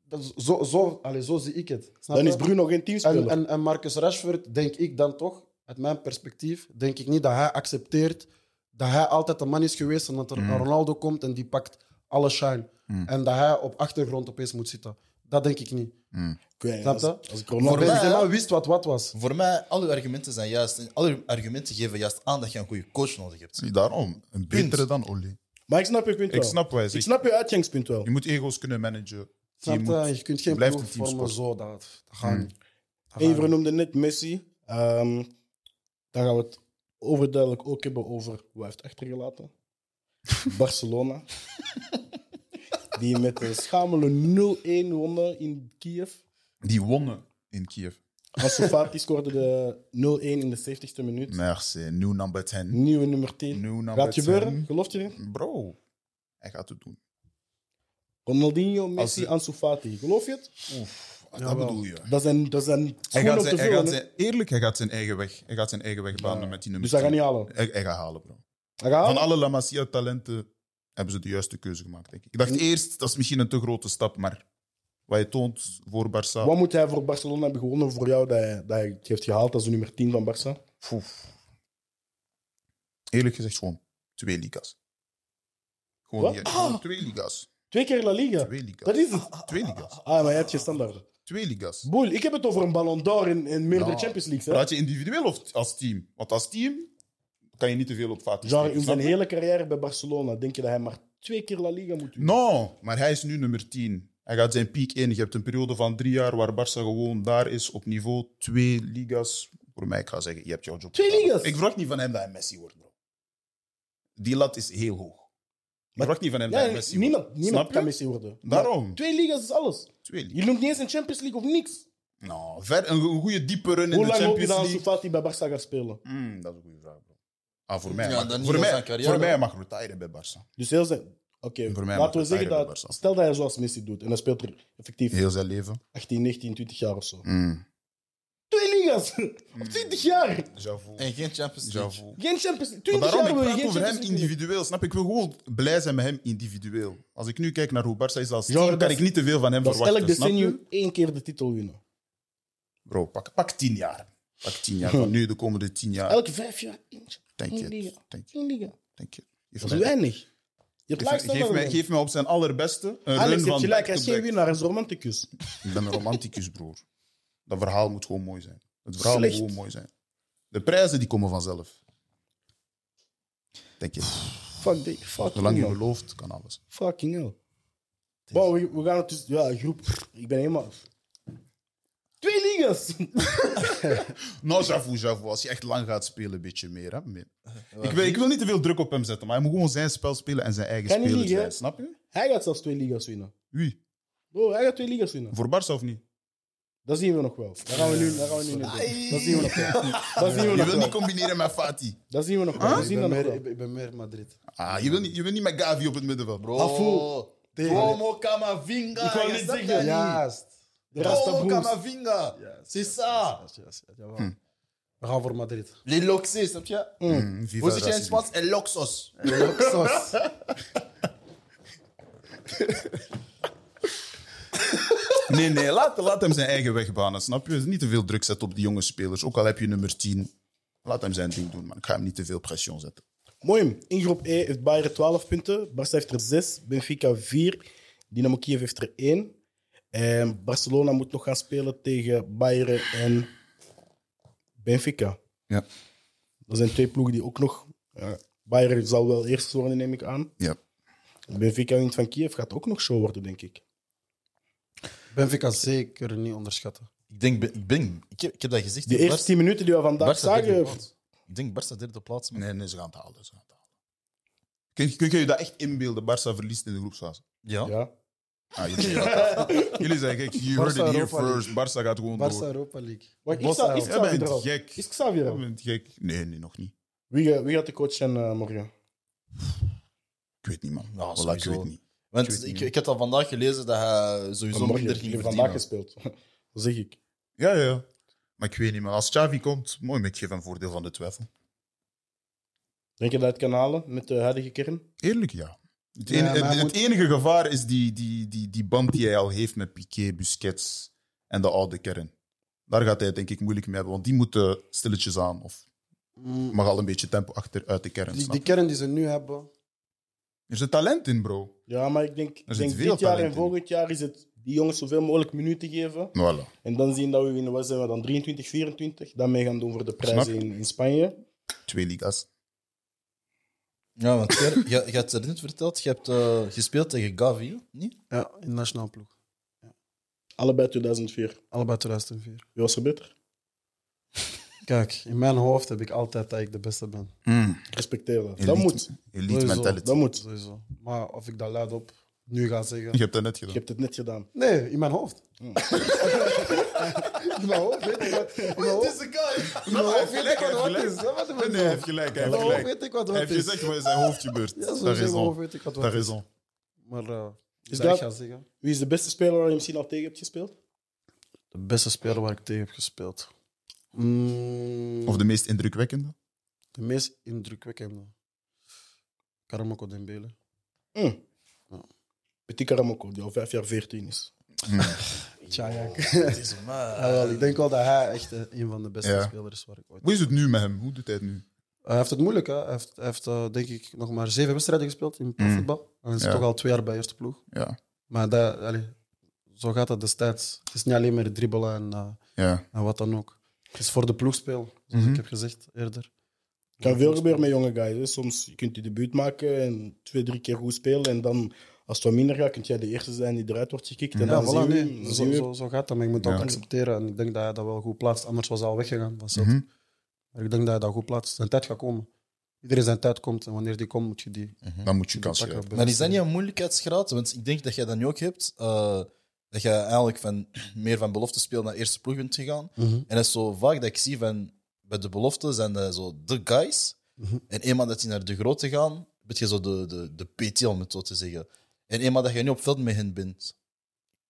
[SPEAKER 4] Dat is zo, zo, allez, zo zie ik het. Snap
[SPEAKER 2] Dan
[SPEAKER 4] je?
[SPEAKER 2] is Bruno geen teamspeler.
[SPEAKER 4] en, en, en Marcus Rashford, denk ik dan toch, uit mijn perspectief, denk ik niet dat hij accepteert dat hij altijd de man is geweest en dat er
[SPEAKER 2] Mm.
[SPEAKER 4] een Ronaldo komt en die pakt alle shine. En dat hij op achtergrond opeens moet zitten. Dat denk ik niet.
[SPEAKER 2] Ik weet niet,
[SPEAKER 4] Snap
[SPEAKER 2] als,
[SPEAKER 4] je?
[SPEAKER 2] als ik
[SPEAKER 4] Maar
[SPEAKER 2] Ronaldo
[SPEAKER 1] mij,
[SPEAKER 4] Benzema
[SPEAKER 1] hè?
[SPEAKER 4] wist wat wat was.
[SPEAKER 1] Voor mij, alle argumenten zijn juist. En alle argumenten geven juist aan dat je een goede coach nodig hebt.
[SPEAKER 3] Zie, daarom. Een betere dan Olly.
[SPEAKER 2] Maar ik snap je punt wel.
[SPEAKER 3] Ik snap wat hij
[SPEAKER 2] Ik
[SPEAKER 3] zegt.
[SPEAKER 2] snap je uitgangspunt wel.
[SPEAKER 3] Je moet ego's kunnen managen.
[SPEAKER 4] Snap
[SPEAKER 3] Je
[SPEAKER 4] je?
[SPEAKER 3] moet...
[SPEAKER 4] je kunt geen
[SPEAKER 3] blijft
[SPEAKER 4] ploeg
[SPEAKER 3] een teamsport.
[SPEAKER 4] vormen zo. Dat, dat gaat niet. Dat gaat
[SPEAKER 2] Mm. Even noemde net Messi. Ehm, dan gaan we het overduidelijk ook hebben over wat hij heeft achtergelaten. Barcelona. Die met een schamele 0-1 wonnen in Kiev.
[SPEAKER 3] Die wonnen in Kiev.
[SPEAKER 2] Ansu Fati scoorde de 0-1 in de 70ste minuut.
[SPEAKER 3] Merci. New number 10.
[SPEAKER 2] Nieuwe nummer 10.
[SPEAKER 3] New number
[SPEAKER 2] Gaat gebeuren,
[SPEAKER 3] 10.
[SPEAKER 2] geloof je erin?
[SPEAKER 3] Bro, hij gaat het doen.
[SPEAKER 2] Ronaldinho, Messi,
[SPEAKER 3] Als-
[SPEAKER 2] Ansu Fati. Geloof je het?
[SPEAKER 3] dat bedoel je.
[SPEAKER 2] Dat zijn, dat zijn
[SPEAKER 3] Hij
[SPEAKER 2] schoenen
[SPEAKER 3] gaat,
[SPEAKER 2] op te
[SPEAKER 3] zijn, hij gaat
[SPEAKER 2] vullen. hè?
[SPEAKER 3] zijn, eerlijk, hij gaat zijn eigen weg. Hij gaat zijn eigen weg banen met die nummer
[SPEAKER 2] Dus hij gaat
[SPEAKER 3] 10.
[SPEAKER 2] niet halen.
[SPEAKER 3] Hij, hij gaat halen, bro.
[SPEAKER 2] Hij gaat
[SPEAKER 3] Van
[SPEAKER 2] halen?
[SPEAKER 3] alle La Masia-talenten hebben ze de juiste keuze gemaakt, denk ik. Ik dacht eerst, dat is misschien een te grote stap, maar wat je toont voor Barça...
[SPEAKER 2] Wat moet hij voor Barcelona hebben gewonnen voor jou dat hij, dat hij het heeft gehaald als de nummer 10 van Barça?
[SPEAKER 3] Poef. Eerlijk gezegd, gewoon twee ligas. Gewoon,
[SPEAKER 2] Wat?
[SPEAKER 3] hier, gewoon twee ligas.
[SPEAKER 2] Twee keer La Liga.
[SPEAKER 3] Twee ligas.
[SPEAKER 2] Dat is het.
[SPEAKER 3] Twee
[SPEAKER 2] Ah,
[SPEAKER 3] ligas.
[SPEAKER 2] maar jij hebt je standaarden.
[SPEAKER 3] Twee ligas.
[SPEAKER 2] Boel, ik heb het over een Ballon d'Or en, en meerdere
[SPEAKER 3] Ja.
[SPEAKER 2] Champions Leagues. Hè?
[SPEAKER 3] Praat je individueel of als team? Want als team kan je niet te veel op vaten
[SPEAKER 2] Genre,
[SPEAKER 3] steken,
[SPEAKER 2] in zijn
[SPEAKER 3] snap je?
[SPEAKER 2] hele carrière bij Barcelona denk je dat hij maar twee keer La Liga moet doen.
[SPEAKER 3] No, maar hij is nu nummer 10. Hij gaat zijn piek in. Je hebt een periode van drie jaar waar Barça gewoon daar is op niveau twee ligas. Voor mij, ik ga zeggen, je hebt jouw job.
[SPEAKER 2] Twee
[SPEAKER 3] gedaan.
[SPEAKER 2] ligas?
[SPEAKER 3] Ik verwacht niet van hem dat hij Messi wordt, bro. Die lat is heel hoog. Ik verwacht niet van hem
[SPEAKER 2] Ja,
[SPEAKER 3] dat hij Messi
[SPEAKER 2] niemand
[SPEAKER 3] wordt.
[SPEAKER 2] niemand
[SPEAKER 3] Snap
[SPEAKER 2] kan
[SPEAKER 3] je?
[SPEAKER 2] Messi worden. Maar
[SPEAKER 3] Daarom.
[SPEAKER 2] Twee ligas is alles.
[SPEAKER 3] Twee ligas.
[SPEAKER 2] Je noemt niet eens een Champions League of niks.
[SPEAKER 3] Nou, ver, een, go- een goede diepe run in
[SPEAKER 2] Hoe
[SPEAKER 3] de
[SPEAKER 2] lang hoop je
[SPEAKER 3] Champions
[SPEAKER 2] dat Ansu
[SPEAKER 3] League.
[SPEAKER 2] Fati bij Barça gaat spelen?
[SPEAKER 3] Mm, dat is een goede vraag, bro. Ah, voor mij,
[SPEAKER 1] Ja,
[SPEAKER 3] mag-
[SPEAKER 1] dan niet
[SPEAKER 3] voor
[SPEAKER 1] als
[SPEAKER 3] mij,
[SPEAKER 1] zijn carrière.
[SPEAKER 3] voor mij hij mag retiren bij Barça.
[SPEAKER 2] Dus heel zijn... Oké,
[SPEAKER 3] Voor mij mag
[SPEAKER 2] laten we
[SPEAKER 3] het
[SPEAKER 2] zeggen
[SPEAKER 3] eigenlijk
[SPEAKER 2] dat...
[SPEAKER 3] bij Barça.
[SPEAKER 2] Stel dat hij zoals Messi doet en hij speelt er effectief
[SPEAKER 3] Heel zijn leven.
[SPEAKER 2] 18, 19, 20 jaar of zo.
[SPEAKER 3] Mm.
[SPEAKER 2] Twee ligas! Op 20 jaar!
[SPEAKER 3] J'avoue.
[SPEAKER 1] En geen Champions League.
[SPEAKER 3] J'avoue.
[SPEAKER 2] Geen Champions League. 20
[SPEAKER 3] Maar daarom,
[SPEAKER 2] jaar
[SPEAKER 3] ik
[SPEAKER 2] wil je
[SPEAKER 3] praat
[SPEAKER 2] geen
[SPEAKER 3] over hem
[SPEAKER 2] Champions League.
[SPEAKER 3] individueel. Snap je? Ik wil gewoon blij zijn met hem individueel. Als ik nu kijk naar hoe Barça is als
[SPEAKER 2] Ja,
[SPEAKER 3] team,
[SPEAKER 2] dat
[SPEAKER 3] kan
[SPEAKER 2] is-
[SPEAKER 3] ik niet te veel van hem
[SPEAKER 2] Dat is
[SPEAKER 3] verwachten.
[SPEAKER 2] elk
[SPEAKER 3] snap je?
[SPEAKER 2] decennium één keer de titel winnen.
[SPEAKER 3] Bro, pak, pak tien jaar. Pak tien jaar. Van nu de komende tien jaar.
[SPEAKER 2] Elke vijf jaar eentje.
[SPEAKER 3] Denk
[SPEAKER 2] één
[SPEAKER 3] je.
[SPEAKER 2] liga.
[SPEAKER 3] Denk je.
[SPEAKER 2] Eén liga.
[SPEAKER 3] Denk je.
[SPEAKER 2] Dat is weinig. Je hebt
[SPEAKER 3] Geef,
[SPEAKER 2] laagste
[SPEAKER 3] geef, mij, geef mij op zijn allerbeste een
[SPEAKER 2] Alex,
[SPEAKER 3] run
[SPEAKER 2] je hebt
[SPEAKER 3] van
[SPEAKER 2] gelijk. Hij is geen
[SPEAKER 3] back-to-back.
[SPEAKER 2] winnaar. Hij is romanticus.
[SPEAKER 3] Ik ben een romanticus, broer. Dat verhaal moet gewoon mooi zijn. Het verhaal
[SPEAKER 2] Slecht.
[SPEAKER 3] moet gewoon mooi zijn. De prijzen die komen vanzelf. Denk je.
[SPEAKER 2] Fuck die.
[SPEAKER 3] Zolang
[SPEAKER 2] Fucking
[SPEAKER 3] je
[SPEAKER 2] hell.
[SPEAKER 3] gelooft, kan alles.
[SPEAKER 2] Fucking hell. Wow, we, we gaan het dus... Ja, groep. Ik ben helemaal... Twee ligas!
[SPEAKER 3] Nou, j'avoue, j'avoue. Als je echt lang gaat spelen, een beetje meer. Hè? meer. Ik, wil, ik wil niet te veel druk op hem zetten, maar hij moet gewoon zijn spel spelen en zijn eigen
[SPEAKER 2] Kan hij
[SPEAKER 3] speler
[SPEAKER 2] niet, hè?
[SPEAKER 3] zijn. Snap je?
[SPEAKER 2] hij gaat zelfs twee ligas winnen.
[SPEAKER 3] Wie?
[SPEAKER 2] Bro, hij gaat twee ligas winnen.
[SPEAKER 3] Voor Barça of niet?
[SPEAKER 2] Dat zien we nog wel. Daar gaan we nu, daar gaan we nu niet doen. Dat zien we nog wel. Dat zien we
[SPEAKER 3] Je
[SPEAKER 2] nog wel.
[SPEAKER 3] wil niet combineren met Fati.
[SPEAKER 2] Dat zien we nog wel. We
[SPEAKER 4] Ik
[SPEAKER 2] zien
[SPEAKER 4] ben,
[SPEAKER 2] dat nog
[SPEAKER 4] meer,
[SPEAKER 2] wel.
[SPEAKER 4] ik ben- ik ben meer Madrid.
[SPEAKER 3] Ah, je wil niet, je wil niet met Gavi op het middenveld, bro.
[SPEAKER 1] Bro. Como Oh, Camavinga.
[SPEAKER 2] Ik wou
[SPEAKER 1] je
[SPEAKER 2] net
[SPEAKER 1] snapt
[SPEAKER 2] zeggen,
[SPEAKER 1] dat niet.
[SPEAKER 4] Juist.
[SPEAKER 2] De
[SPEAKER 3] Oh,
[SPEAKER 1] Como
[SPEAKER 2] Rastabroers.
[SPEAKER 1] Camavinga. C'est ça.
[SPEAKER 4] Juist, juist, juist, jawel. We gaan voor Madrid.
[SPEAKER 1] Les loxés, snap je?
[SPEAKER 3] Mm, viva
[SPEAKER 1] Hoe zit je in het
[SPEAKER 3] racisme.
[SPEAKER 1] Spaans? El loxos.
[SPEAKER 4] Luxos.
[SPEAKER 3] Nee, nee, laat, laat hem zijn eigen weg banen, snap je? Niet te veel druk zetten op die jonge spelers. Ook al heb je nummer 10. Laat hem zijn ding doen, man. Ik ga hem niet te veel pression zetten.
[SPEAKER 2] Mooi. In groep E heeft Bayern 12 punten. Barça heeft er 6. Benfica 4. Dynamo Kiev heeft er 1. En Barcelona moet nog gaan spelen tegen Bayern en Benfica.
[SPEAKER 3] Ja.
[SPEAKER 2] Dat zijn twee ploegen die ook nog... ja, Bayern zal wel eerst worden, neem ik aan.
[SPEAKER 3] Ja.
[SPEAKER 2] Benfica wint van Kiev gaat ook nog show worden, denk ik.
[SPEAKER 4] Benfica zeker niet onderschatten.
[SPEAKER 1] Ik denk, ik, ben, ik, heb, ik heb dat gezegd.
[SPEAKER 2] De eerste 10 minuten die we vandaag
[SPEAKER 1] Barca derde
[SPEAKER 2] zagen...
[SPEAKER 1] plaats. Ik denk Barca derde plaats. man.
[SPEAKER 3] Nee, nee, ze gaan het halen. Ze gaan het halen. Kun, kun je je dat echt inbeelden? Barça verliest in de groepsfase.
[SPEAKER 1] Ja.
[SPEAKER 2] Ja.
[SPEAKER 3] Ah, jullie, zeggen dat. jullie zijn gek. You heard
[SPEAKER 4] Barça
[SPEAKER 3] it here
[SPEAKER 4] Europa League.
[SPEAKER 3] first. Barça gaat gewoon
[SPEAKER 4] Barça
[SPEAKER 3] door.
[SPEAKER 4] Europa League.
[SPEAKER 2] Wacht, is,
[SPEAKER 4] Bossa,
[SPEAKER 2] Xavi- is
[SPEAKER 4] hoor.
[SPEAKER 2] Xavi er
[SPEAKER 3] Jij bent
[SPEAKER 2] al?
[SPEAKER 3] gek.
[SPEAKER 2] Is Xavi er
[SPEAKER 3] Jij
[SPEAKER 2] al?
[SPEAKER 3] bent gek. Nee, nee, nog niet.
[SPEAKER 2] Wie, eh, wie gaat de coach zijn eh, morgen?
[SPEAKER 3] Ik weet niet, man.
[SPEAKER 1] Ja,
[SPEAKER 3] Voilà, ik
[SPEAKER 1] sowieso.
[SPEAKER 3] weet niet.
[SPEAKER 1] Want
[SPEAKER 3] Ik weet
[SPEAKER 1] ik,
[SPEAKER 3] niet,
[SPEAKER 1] ik,
[SPEAKER 3] man.
[SPEAKER 1] had al vandaag gelezen dat hij sowieso
[SPEAKER 2] Morgen,
[SPEAKER 1] minder
[SPEAKER 2] die
[SPEAKER 1] ging
[SPEAKER 2] hebben
[SPEAKER 1] verdienen.
[SPEAKER 2] vandaag gespeeld. Dat zeg ik.
[SPEAKER 3] Ja, ja, ja. Maar ik weet niet, man. Als Xavi komt, mooi, maar ik geef hem voordeel van de twijfel.
[SPEAKER 2] Denk je dat het kan halen met de huidige kern?
[SPEAKER 3] Eerlijk, ja. Het,
[SPEAKER 4] Ja,
[SPEAKER 3] ene-
[SPEAKER 4] maar hij
[SPEAKER 3] het, het
[SPEAKER 4] moet-
[SPEAKER 3] enige gevaar is die, die, die, die band die hij al heeft met Piqué, Busquets en de oude kern. Daar gaat hij het denk ik moeilijk mee hebben, want die moeten stilletjes aan. Of
[SPEAKER 4] Mm,
[SPEAKER 3] mag al een beetje tempo achter uit de kern.
[SPEAKER 4] Die,
[SPEAKER 3] snap
[SPEAKER 4] die
[SPEAKER 3] je?
[SPEAKER 4] kern die ze nu hebben,
[SPEAKER 3] Er zit talent in, bro.
[SPEAKER 2] Ja, maar ik denk, ik
[SPEAKER 3] zit
[SPEAKER 2] denk
[SPEAKER 3] veel
[SPEAKER 2] dit jaar en
[SPEAKER 3] talent in.
[SPEAKER 2] volgend jaar is het die jongens zoveel mogelijk minuten geven.
[SPEAKER 3] Voilà.
[SPEAKER 2] En dan zien dat we in, wat zijn we dan, 23, 24, dat mee gaan doen voor de
[SPEAKER 3] Snap
[SPEAKER 2] prijzen
[SPEAKER 3] je?
[SPEAKER 2] in, in Spanje.
[SPEAKER 3] Twee ligas.
[SPEAKER 1] Ja, want Ger, je, je had het net verteld, je hebt eh, gespeeld tegen Gavi, niet?
[SPEAKER 4] ja, in de nationale ploeg.
[SPEAKER 2] Allebei 2004.
[SPEAKER 4] Allebei 2004.
[SPEAKER 2] Wie was er beter?
[SPEAKER 4] Kijk, in mijn hoofd heb ik altijd dat ik de beste ben.
[SPEAKER 2] Ik respecteer dat.
[SPEAKER 3] Elite-
[SPEAKER 2] Dat moet.
[SPEAKER 3] Elite
[SPEAKER 4] Sowieso,
[SPEAKER 3] mentality.
[SPEAKER 2] Dat moet.
[SPEAKER 4] Sowieso. Maar of ik dat luidop nu ga zeggen.
[SPEAKER 3] Je hebt dat net
[SPEAKER 2] Je
[SPEAKER 3] gedaan.
[SPEAKER 2] hebt het net gedaan.
[SPEAKER 4] Nee, in mijn hoofd.
[SPEAKER 2] Hmm.
[SPEAKER 4] in mijn hoofd weet ik wat. In mijn hoofd, in mijn hoofd weet ik wat wat is. Hè, Wat
[SPEAKER 3] Nee, nee,
[SPEAKER 4] in mijn
[SPEAKER 3] hij heeft
[SPEAKER 4] hoofd?
[SPEAKER 3] gelijk. Hij
[SPEAKER 4] In
[SPEAKER 3] heeft
[SPEAKER 4] mijn hoofd
[SPEAKER 3] gelijk.
[SPEAKER 4] Oh, weet ik wat
[SPEAKER 3] Hij
[SPEAKER 4] wat
[SPEAKER 3] heeft
[SPEAKER 4] is.
[SPEAKER 3] gezegd wat in zijn hoofd gebeurt.
[SPEAKER 4] Ja,
[SPEAKER 3] Dat
[SPEAKER 4] zo
[SPEAKER 3] is
[SPEAKER 4] in mijn hoofd
[SPEAKER 3] al.
[SPEAKER 4] weet ik wat
[SPEAKER 3] Dat
[SPEAKER 4] wat
[SPEAKER 3] is
[SPEAKER 4] is.
[SPEAKER 3] al.
[SPEAKER 4] Maar eh
[SPEAKER 2] Is
[SPEAKER 4] is dat ik
[SPEAKER 2] dat-
[SPEAKER 4] ga zeggen?
[SPEAKER 2] Wie is de beste speler waar je misschien al tegen hebt gespeeld?
[SPEAKER 4] De beste speler waar ik tegen heb gespeeld. Mm,
[SPEAKER 3] Of de meest indrukwekkende.
[SPEAKER 4] de meest indrukwekkende. Karamoko Dembele.
[SPEAKER 2] Hm.
[SPEAKER 4] Ja.
[SPEAKER 2] Petit Karamoko, die al vijf jaar 14 is.
[SPEAKER 4] Tja, ja.
[SPEAKER 1] Het is
[SPEAKER 2] Ah,
[SPEAKER 4] Ja, Ah, wel, ik denk wel dat hij echt eh, een van de beste
[SPEAKER 3] Ja.
[SPEAKER 4] spelers is waar ik ooit.
[SPEAKER 3] Hoe is het nu met hem? Hoe doet hij het nu?
[SPEAKER 4] Hij heeft het moeilijk, hè? Hij heeft, hij heeft eh, denk ik nog maar zeven wedstrijden gespeeld in profvoetbal. En hij is
[SPEAKER 3] Mm. Ja.
[SPEAKER 4] toch al twee jaar bij eerste ploeg.
[SPEAKER 3] Ja.
[SPEAKER 4] Maar dat, allee, zo gaat dat destijds. Het is niet alleen meer dribbelen en, eh,
[SPEAKER 3] Ja.
[SPEAKER 4] en wat dan ook. Het is voor de ploegspel, zoals
[SPEAKER 3] Mhm.
[SPEAKER 4] ik heb gezegd eerder.
[SPEAKER 2] Er kan veel gebeuren met jonge guys. Hè. Soms kunt je debuut maken en twee, drie keer goed spelen. En dan, als het wat minder gaat, kun jij de eerste zijn die eruit wordt gekikt. En
[SPEAKER 4] Ja,
[SPEAKER 2] dan
[SPEAKER 4] voilà,
[SPEAKER 2] zien we,
[SPEAKER 4] nee,
[SPEAKER 2] dan
[SPEAKER 4] zo,
[SPEAKER 2] zien we.
[SPEAKER 4] zo, zo gaat dat. Maar je moet dat
[SPEAKER 3] Ja.
[SPEAKER 4] ook accepteren. En ik denk dat hij dat wel goed plaatst. Anders was hij al weggegaan van Celtic.
[SPEAKER 3] Mhm.
[SPEAKER 4] Maar ik denk dat hij dat goed plaatst. Zijn tijd gaat komen. Iedereen zijn tijd komt. En wanneer die komt, moet je die,
[SPEAKER 3] Dan moet je
[SPEAKER 4] moet je
[SPEAKER 3] kans
[SPEAKER 4] die
[SPEAKER 3] geven.
[SPEAKER 4] pakken.
[SPEAKER 1] Maar is dat niet een moeilijkheidsgraad? Want ik denk dat jij dat nu ook hebt. eh, dat je eigenlijk van, meer van belofte speel naar eerste ploeg bent gegaan.
[SPEAKER 4] Mhm.
[SPEAKER 1] En dat is zo vaak dat ik zie van bij de belofte zijn dat zo de guys.
[SPEAKER 4] Mhm.
[SPEAKER 1] En eenmaal dat die naar de grote gaan, ben je zo de, de, de PT, om het zo te zeggen. En eenmaal dat je nu op veld met hen bent,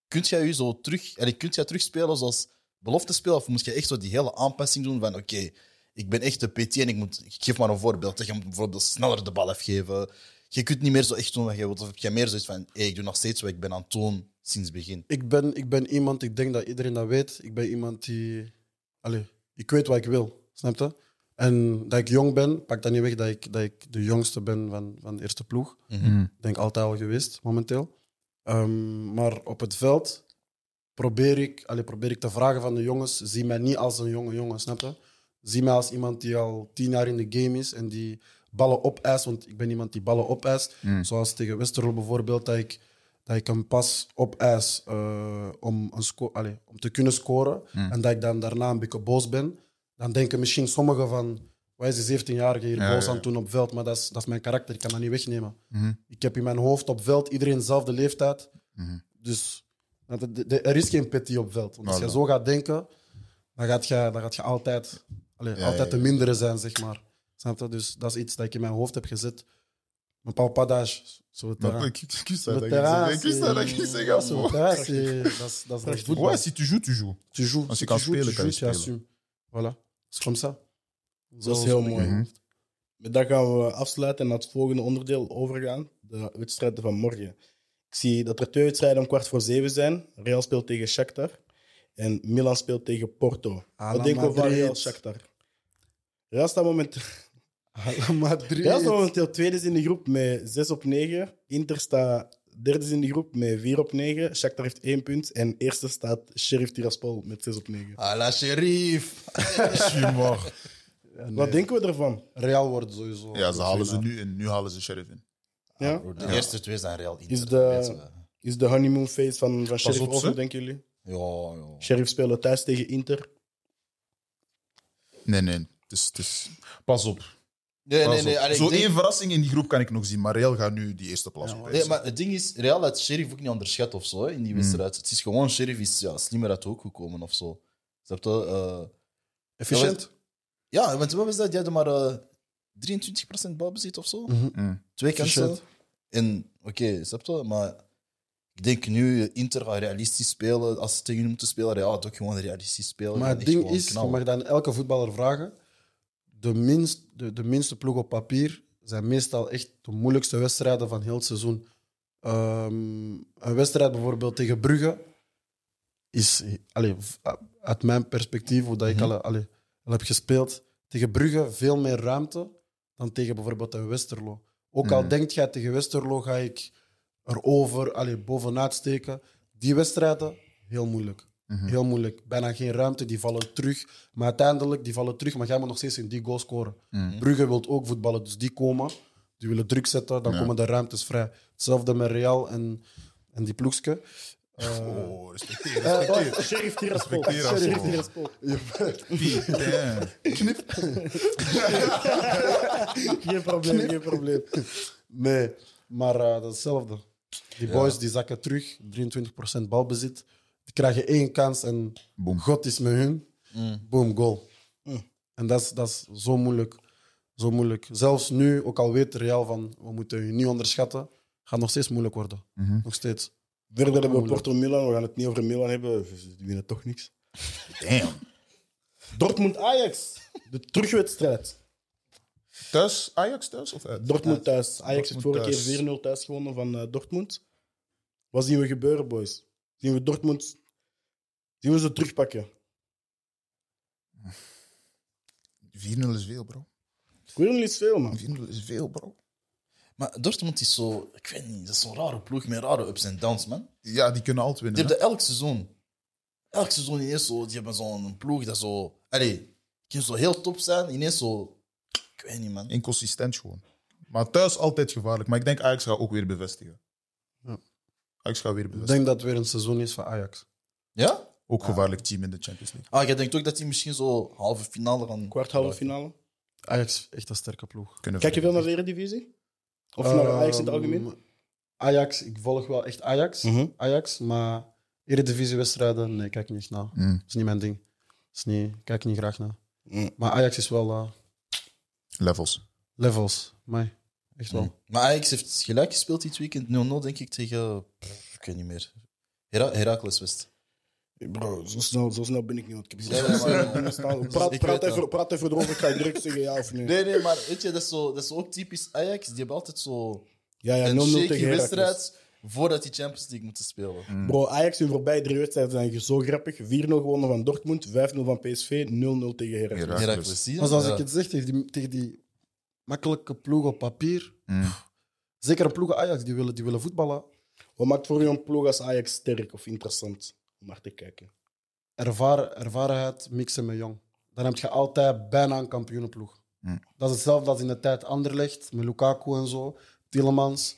[SPEAKER 1] kunt jij je zo terug, en kunt jij terugspelen zoals belofte spelen? Of moet je echt zo die hele aanpassing doen van oké, ik ben echt de PT en ik moet, ik geef maar een voorbeeld. Je moet bijvoorbeeld sneller de bal afgeven. Je kunt niet meer zo echt doen wat je wilt. Of heb je meer zoiets van hey, ik doe nog steeds wat ik ben aan het doen sinds het begin.
[SPEAKER 4] ik ben, ik ben iemand, ik denk dat iedereen dat weet. Ik ben iemand die. Allee, ik weet wat ik wil, snap je? En dat ik jong ben, pakt dat niet weg dat ik, dat ik de jongste ben van, van de eerste ploeg. Denk altijd al geweest, momenteel. Ehm, maar op het veld probeer ik, allee, probeer ik te vragen van de jongens. Zie mij niet als een jonge jongen, snap je? Zie mij als iemand die al tien jaar in de game is en die ballen opeist. Want ik ben iemand die ballen opeist.
[SPEAKER 3] Mm.
[SPEAKER 4] Zoals tegen Westerlo bijvoorbeeld, dat ik, dat ik een pas opeis eh om, een sco- allee, om te kunnen scoren.
[SPEAKER 3] Mm.
[SPEAKER 4] En dat ik dan daarna een beetje boos ben. Dan denken misschien sommigen van... Wij is die 17-jarige hier
[SPEAKER 3] Ja,
[SPEAKER 4] boos
[SPEAKER 3] ja,
[SPEAKER 4] aan
[SPEAKER 3] ja.
[SPEAKER 4] het doen op veld? Maar dat is, dat is mijn karakter, ik kan dat niet wegnemen.
[SPEAKER 3] Mhm.
[SPEAKER 4] Ik heb in mijn hoofd op veld iedereen dezelfde leeftijd.
[SPEAKER 3] Mhm.
[SPEAKER 4] Dus dat- de- de- er is geen petty op veld. Want als
[SPEAKER 3] Voilà.
[SPEAKER 4] je zo gaat denken, dan gaat je, dan gaat je altijd, allee,
[SPEAKER 3] Ja,
[SPEAKER 4] altijd
[SPEAKER 3] ja, ja.
[SPEAKER 4] de mindere zijn, zeg maar. Snap je? Dus dat is iets dat ik in mijn hoofd heb gezet. Mijn palpadage, zo het
[SPEAKER 3] Maar
[SPEAKER 4] terrein.
[SPEAKER 3] ik- ik- ik wist dat
[SPEAKER 4] Le
[SPEAKER 3] ik
[SPEAKER 4] terrain,
[SPEAKER 3] Ik wist dat
[SPEAKER 4] c'est-
[SPEAKER 3] ik niet zeg.
[SPEAKER 4] Ja, zo het terrein, c'est- dat is- dat is- dat is voetbal.
[SPEAKER 3] Ouais, si tu joues, tu joues.
[SPEAKER 4] Tu joues,
[SPEAKER 3] Als je
[SPEAKER 4] si
[SPEAKER 3] kan
[SPEAKER 4] tu joues,
[SPEAKER 3] spelen,
[SPEAKER 4] tu
[SPEAKER 3] kan je
[SPEAKER 4] joues, tu
[SPEAKER 3] spelen.
[SPEAKER 4] assumes. Voilà. Het is comme ça. Zo-
[SPEAKER 2] is
[SPEAKER 4] zo
[SPEAKER 2] heel
[SPEAKER 4] ben ik
[SPEAKER 2] mooi.
[SPEAKER 3] Mhm.
[SPEAKER 4] in mijn hoofd.
[SPEAKER 2] Maar dan gaan we afsluiten en naar het volgende onderdeel overgaan. De wedstrijden van morgen. Ik zie dat er twee wedstrijden om kwart voor zeven zijn. Real speelt tegen Shakhtar. En Milan speelt tegen Porto.
[SPEAKER 4] Ala
[SPEAKER 2] Wat denken we van
[SPEAKER 4] Madrid.
[SPEAKER 2] Real Shakhtar? Real staat, momenteel,
[SPEAKER 4] Ala Madrid.
[SPEAKER 2] Real staat momenteel tweede in de groep met 6 op 9. Inter staat derde in de groep met 4 op 9. Shakhtar heeft 1 punt. En eerste staat Sheriff Tiraspol met 6 op 9.
[SPEAKER 1] Ala Sherif.
[SPEAKER 2] Wat denken we ervan?
[SPEAKER 4] Real wordt sowieso.
[SPEAKER 3] Ja, ze halen ze nu in. Nu halen ze Sheriff in.
[SPEAKER 2] Ja?
[SPEAKER 1] Bro, de eerste twee zijn Real Inter.
[SPEAKER 2] Is
[SPEAKER 1] dat
[SPEAKER 2] de-
[SPEAKER 1] weten we.
[SPEAKER 2] Is de honeymoon phase van, van Sheriff
[SPEAKER 3] op, ze.
[SPEAKER 2] over, denken jullie?
[SPEAKER 1] Ja, ja.
[SPEAKER 2] Sheriff spelen thuis tegen Inter.
[SPEAKER 3] Nee, nee. Het is, het is... Pas op.
[SPEAKER 1] Nee,
[SPEAKER 3] Pas
[SPEAKER 1] nee, nee.
[SPEAKER 3] op.
[SPEAKER 1] allee, ik
[SPEAKER 3] Zo
[SPEAKER 1] denk-
[SPEAKER 3] één verrassing in die groep kan ik nog zien. Maar Real gaat nu die eerste plaats op.
[SPEAKER 1] Nee, maar het Hmm. ding is, Real had Sheriff ook niet onderschat of zo hè, in die wedstrijd. Het is gewoon, Sheriff is ja, slimmer uit de hoek gekomen of zo. Snap je? Eh,
[SPEAKER 4] Efficiënt.
[SPEAKER 1] ja, want wat was dat? Die hadden maar eh 23% balbezit of zo.
[SPEAKER 4] Mhm.
[SPEAKER 3] Mm.
[SPEAKER 1] Twee kansen.
[SPEAKER 4] Efficiënt.
[SPEAKER 1] En oké, snap je? Maar ik denk nu, eh, Inter gaat realistisch spelen. Als ze tegen hun moeten spelen, Real had ook gewoon realistisch spelen.
[SPEAKER 4] Maar
[SPEAKER 1] En
[SPEAKER 4] het
[SPEAKER 1] echt
[SPEAKER 4] ding
[SPEAKER 1] gewoon
[SPEAKER 4] is, je
[SPEAKER 1] knallen.
[SPEAKER 4] mag dan elke voetballer vragen. De, minst, de, de minste ploeg op papier zijn meestal echt de moeilijkste wedstrijden van heel het seizoen. Ehm, een wedstrijd bijvoorbeeld tegen Brugge is, allee, v- uit mijn perspectief, hoe
[SPEAKER 3] Mhm.
[SPEAKER 4] dat ik al, allee, al heb gespeeld, tegen Brugge veel meer ruimte dan tegen bijvoorbeeld een Westerlo. Ook al
[SPEAKER 3] Mhm.
[SPEAKER 4] denkt jij tegen Westerlo ga ik erover, allee, bovenuit steken. Die wedstrijden, heel moeilijk.
[SPEAKER 3] Mhm.
[SPEAKER 4] Heel moeilijk. Bijna geen ruimte, die vallen terug. Maar uiteindelijk, die vallen terug, maar jij moet nog steeds in die goal scoren.
[SPEAKER 3] Mhm.
[SPEAKER 4] Brugge wil ook voetballen, dus die komen. Die willen druk zetten, dan
[SPEAKER 3] Ja.
[SPEAKER 4] komen de ruimtes vrij. Hetzelfde met Real en, en die ploegske.
[SPEAKER 3] Oh,
[SPEAKER 2] Eh,
[SPEAKER 3] respecteer, respecteer.
[SPEAKER 2] Sheriff Tiraspol.
[SPEAKER 3] Respecteer Tiraspol.
[SPEAKER 2] Sheriff Tiraspol.
[SPEAKER 3] Damn.
[SPEAKER 2] Geen probleem, geen probleem.
[SPEAKER 4] Nee, maar eh, dat is hetzelfde. Die
[SPEAKER 1] Ja.
[SPEAKER 4] boys die zakken terug, 23% balbezit. Die krijgen één kans en
[SPEAKER 3] Boom.
[SPEAKER 4] God is met hun.
[SPEAKER 1] Mm.
[SPEAKER 4] Boom, goal.
[SPEAKER 2] Mm.
[SPEAKER 4] En dat is, dat is zo moeilijk. Zo moeilijk. Zelfs nu, ook al weet Real van we moeten je niet onderschatten, gaat nog steeds moeilijk worden.
[SPEAKER 3] Mhm.
[SPEAKER 4] Nog steeds.
[SPEAKER 2] Verder hebben we Porto Milan. We gaan het niet over Milan hebben. Die winnen toch niks.
[SPEAKER 3] Damn.
[SPEAKER 2] Dortmund Ajax. De terugwedstrijd.
[SPEAKER 3] Thuis? Ajax thuis? Of uit?
[SPEAKER 2] Dortmund thuis. Ajax heeft
[SPEAKER 3] Dortmund
[SPEAKER 2] vorige
[SPEAKER 3] thuis.
[SPEAKER 2] keer 4-0 thuis gewonnen van eh, Dortmund. Wat zien we gebeuren, boys? Zien we Dortmund... Zien we ze terugpakken?
[SPEAKER 3] 4-0 is veel, bro.
[SPEAKER 2] Ik wil niet veel, man.
[SPEAKER 3] 4-0 is veel, bro.
[SPEAKER 1] Maar Dortmund is zo, ik weet niet, dat is zo'n rare ploeg met rare ups en downs, man.
[SPEAKER 3] Ja, die kunnen altijd
[SPEAKER 1] Die
[SPEAKER 3] winnen.
[SPEAKER 1] hebben dat elk seizoen. Elk seizoen ineens zo, die hebben zo'n ploeg dat zo... Allee, kan zo heel top zijn, ineens zo... Ik weet niet,
[SPEAKER 3] hè.
[SPEAKER 1] man.
[SPEAKER 3] Inconsistent gewoon. Maar thuis altijd gevaarlijk. Maar ik denk Ajax gaat ook weer bevestigen.
[SPEAKER 4] Ja.
[SPEAKER 3] Ajax gaat weer
[SPEAKER 4] Ik
[SPEAKER 3] bevestigen.
[SPEAKER 4] denk dat het weer een seizoen is van Ajax.
[SPEAKER 1] Ja?
[SPEAKER 3] Ook gevaarlijk team in de Champions League.
[SPEAKER 1] Ah, jij denkt ook dat die misschien zo halve finale gaan...
[SPEAKER 2] Kwart halve finale.
[SPEAKER 4] Ajax is echt een sterke ploeg.
[SPEAKER 3] Kunnen
[SPEAKER 2] Kijk je veel
[SPEAKER 3] verliezen.
[SPEAKER 2] naar de Eredivisie? Of naar Ajax in het algemeen?
[SPEAKER 4] Ehm, Ajax, ik volg wel echt Ajax.
[SPEAKER 2] Mhm.
[SPEAKER 4] Ajax, maar Eredivisie-wedstrijden, nee, kijk niet naar. Dat
[SPEAKER 3] Mm.
[SPEAKER 4] is niet mijn ding. Dat is niet, kijk niet graag naar.
[SPEAKER 2] Mm.
[SPEAKER 4] Maar Ajax is wel eh,
[SPEAKER 3] Levels.
[SPEAKER 4] levels. Mij, echt wel.
[SPEAKER 1] Mm. Maar Ajax heeft gelijk gespeeld dit weekend. 0-0, denk ik, tegen... pff, ik weet niet meer. Hera Heracles West.
[SPEAKER 2] Bro, zo snel, zo snel ben ik niet. Want ik heb
[SPEAKER 1] Nee, nee, maar-
[SPEAKER 2] Ik ben staan.
[SPEAKER 1] Ik
[SPEAKER 2] praat, praat,
[SPEAKER 1] weet
[SPEAKER 2] even, praat even erover, ik ga je direct zeggen ja of nee.
[SPEAKER 1] Nee, nee, maar weet je, dat is, zo, dat is ook typisch Ajax. Die hebben altijd zo
[SPEAKER 2] Ja, ja, 0-0
[SPEAKER 1] een shaky
[SPEAKER 2] tegen Heracles.
[SPEAKER 1] wedstrijd voordat die Champions League moeten spelen.
[SPEAKER 2] Bro, Ajax hun voorbije drie wedstrijden zijn zo grappig. 4-0 gewonnen van Dortmund, 5-0 van PSV, 0-0 tegen Heracles.
[SPEAKER 3] Heracles.
[SPEAKER 1] Heracles, zie je?
[SPEAKER 4] Maar zoals
[SPEAKER 1] Ja.
[SPEAKER 4] ik het zeg, tegen die, tegen die makkelijke ploeg op papier.
[SPEAKER 3] Mm.
[SPEAKER 4] Zeker een ploeg Ajax, die willen, die willen voetballen.
[SPEAKER 2] Wat maakt voor jou een ploeg als Ajax sterk of interessant om naar te kijken?
[SPEAKER 4] Ervaren, ervarenheid mixen met jong. Dan heb je altijd bijna een kampioenenploeg.
[SPEAKER 3] Mm.
[SPEAKER 4] Dat is hetzelfde als in de tijd Anderlecht, met Lukaku en zo. Tielemans,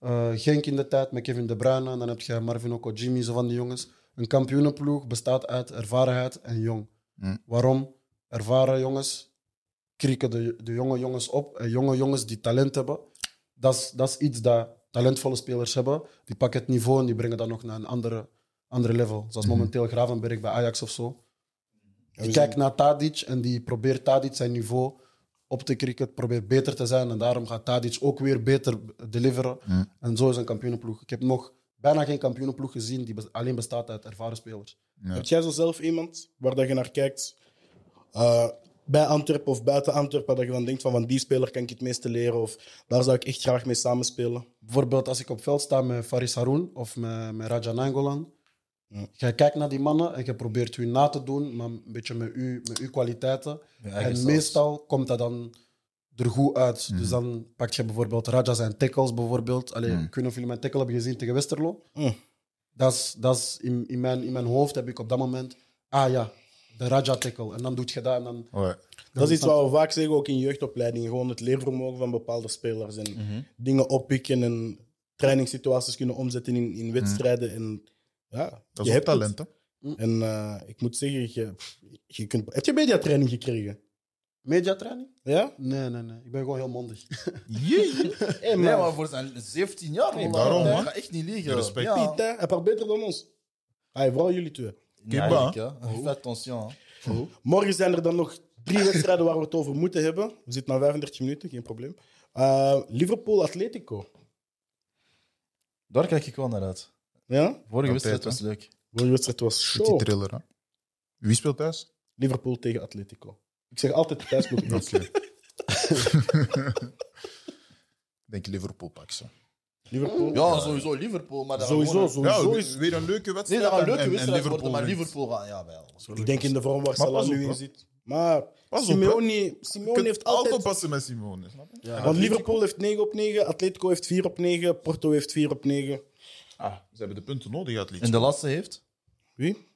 [SPEAKER 4] eh, Genk in de tijd, met Kevin De Bruyne. Dan heb je Marvin Oko, Jimmy, zo van die jongens. Een kampioenenploeg bestaat uit ervarenheid en jong.
[SPEAKER 3] Mm.
[SPEAKER 4] Waarom? Ervaren jongens krieken de, de jonge jongens op. En jonge jongens die talent hebben, dat is, dat is iets dat talentvolle spelers hebben. Die pakken het niveau en die brengen dat nog naar een andere, andere level. Zoals
[SPEAKER 3] Mhm.
[SPEAKER 4] momenteel Gravenberg bij Ajax of zo.
[SPEAKER 2] Ja,
[SPEAKER 4] Die
[SPEAKER 2] we
[SPEAKER 4] kijkt
[SPEAKER 2] zien-
[SPEAKER 4] naar Tadic en die probeert Tadic zijn niveau op te krikken. Probeert beter te zijn en daarom gaat Tadic ook weer beter deliveren.
[SPEAKER 3] Mhm.
[SPEAKER 4] En zo is een kampioenenploeg. Ik heb nog bijna geen kampioenenploeg gezien die bes- alleen bestaat uit ervaren spelers.
[SPEAKER 3] Ja.
[SPEAKER 2] Heb jij zo zelf iemand waar dat je naar kijkt? Eh, bij Antwerpen of buiten Antwerpen, dat je dan denkt van, van die speler kan ik het meeste leren of daar zou ik echt graag mee samenspelen.
[SPEAKER 4] Bijvoorbeeld als ik op veld sta met Faris Haroun of met, met Raja Nangolan. Je kijkt naar die mannen en je probeert hun na te doen, maar een beetje met, u, met uw kwaliteiten.
[SPEAKER 1] Ja,
[SPEAKER 4] en
[SPEAKER 1] eigen zelfs.
[SPEAKER 4] meestal komt dat dan er goed uit. Dus dan pak je bijvoorbeeld Raja zijn tackles. Bijvoorbeeld. Allee, Ik weet niet of jullie mijn tackle hebben gezien tegen Westerlo.
[SPEAKER 2] Mm.
[SPEAKER 4] Dat is, dat is in, in, mijn, in mijn hoofd heb ik op dat moment... Ah ja, de Raja tackle. En dan doe je dat en dan...
[SPEAKER 3] Oh, ja.
[SPEAKER 2] Dat is iets wat we vaak zeggen, ook in jeugdopleidingen. Gewoon het leervermogen van bepaalde spelers en
[SPEAKER 3] Mhm.
[SPEAKER 2] dingen oppikken en trainingssituaties kunnen omzetten in, in wedstrijden. En, ja,
[SPEAKER 3] Dat
[SPEAKER 2] je
[SPEAKER 3] is ook
[SPEAKER 2] hebt het.
[SPEAKER 3] talent, hè?
[SPEAKER 2] En eh, ik moet zeggen, je, je kunt, heb je mediatraining gekregen?
[SPEAKER 4] Mediatraining?
[SPEAKER 2] Ja?
[SPEAKER 4] Nee, nee, nee. Ik ben gewoon heel mondig.
[SPEAKER 1] Hey, nee, maar voor zijn 17 jaar. man,
[SPEAKER 3] daarom,
[SPEAKER 1] dat
[SPEAKER 3] man.
[SPEAKER 1] gaat echt niet liggen.
[SPEAKER 3] Respect.
[SPEAKER 1] Ja.
[SPEAKER 2] Piet, hè? hij praat beter dan ons. Hij vooral jullie twee.
[SPEAKER 1] Nee,
[SPEAKER 3] Keba.
[SPEAKER 1] eigenlijk, hè. Fais attention. hè.
[SPEAKER 2] Morgen zijn er dan nog drie wedstrijden waar we het over moeten hebben. We zitten na 35 minuten, geen probleem. Eh, Liverpool Atletico.
[SPEAKER 1] Daar kijk ik wel naar uit.
[SPEAKER 2] Ja?
[SPEAKER 1] Vorige
[SPEAKER 3] Altijd,
[SPEAKER 1] wedstrijd
[SPEAKER 3] hè.
[SPEAKER 1] was leuk.
[SPEAKER 2] Vorige wedstrijd was
[SPEAKER 3] Die
[SPEAKER 2] show.
[SPEAKER 3] thriller, hè? Wie speelt thuis?
[SPEAKER 2] Liverpool tegen Atletico. Ik zeg altijd thuisploeg.
[SPEAKER 3] Oké. Ik denk Liverpool pak ze.
[SPEAKER 2] Liverpool.
[SPEAKER 1] Ja, sowieso Liverpool. Maar dat gaat
[SPEAKER 2] Sowieso,
[SPEAKER 1] gewoon-
[SPEAKER 3] Ja,
[SPEAKER 2] sowieso is...
[SPEAKER 3] weer een leuke
[SPEAKER 1] Nee,
[SPEAKER 3] wedstrijd.
[SPEAKER 1] dat gaat een
[SPEAKER 3] en-
[SPEAKER 1] leuke
[SPEAKER 3] en
[SPEAKER 1] wedstrijd worden, maar
[SPEAKER 3] wint.
[SPEAKER 1] Liverpool gaat... Ja, wel.
[SPEAKER 2] Ik denk in de vorm waar
[SPEAKER 3] Maar
[SPEAKER 2] Salah
[SPEAKER 3] pas op,
[SPEAKER 2] nu in
[SPEAKER 3] hoor.
[SPEAKER 2] zit. Maar
[SPEAKER 3] Pas op,
[SPEAKER 2] Simeone,
[SPEAKER 3] Je
[SPEAKER 2] Simeone
[SPEAKER 3] kunt
[SPEAKER 2] heeft
[SPEAKER 3] altijd
[SPEAKER 2] altijd...
[SPEAKER 3] passen met Simone. snap je?
[SPEAKER 4] Ja.
[SPEAKER 2] Want Liverpool heeft 9 op 9, Atletico heeft 4 op 9, Porto heeft 4 op 9.
[SPEAKER 3] Ah, ze hebben de punten nodig uit
[SPEAKER 1] En de laatste heeft?
[SPEAKER 2] Wie?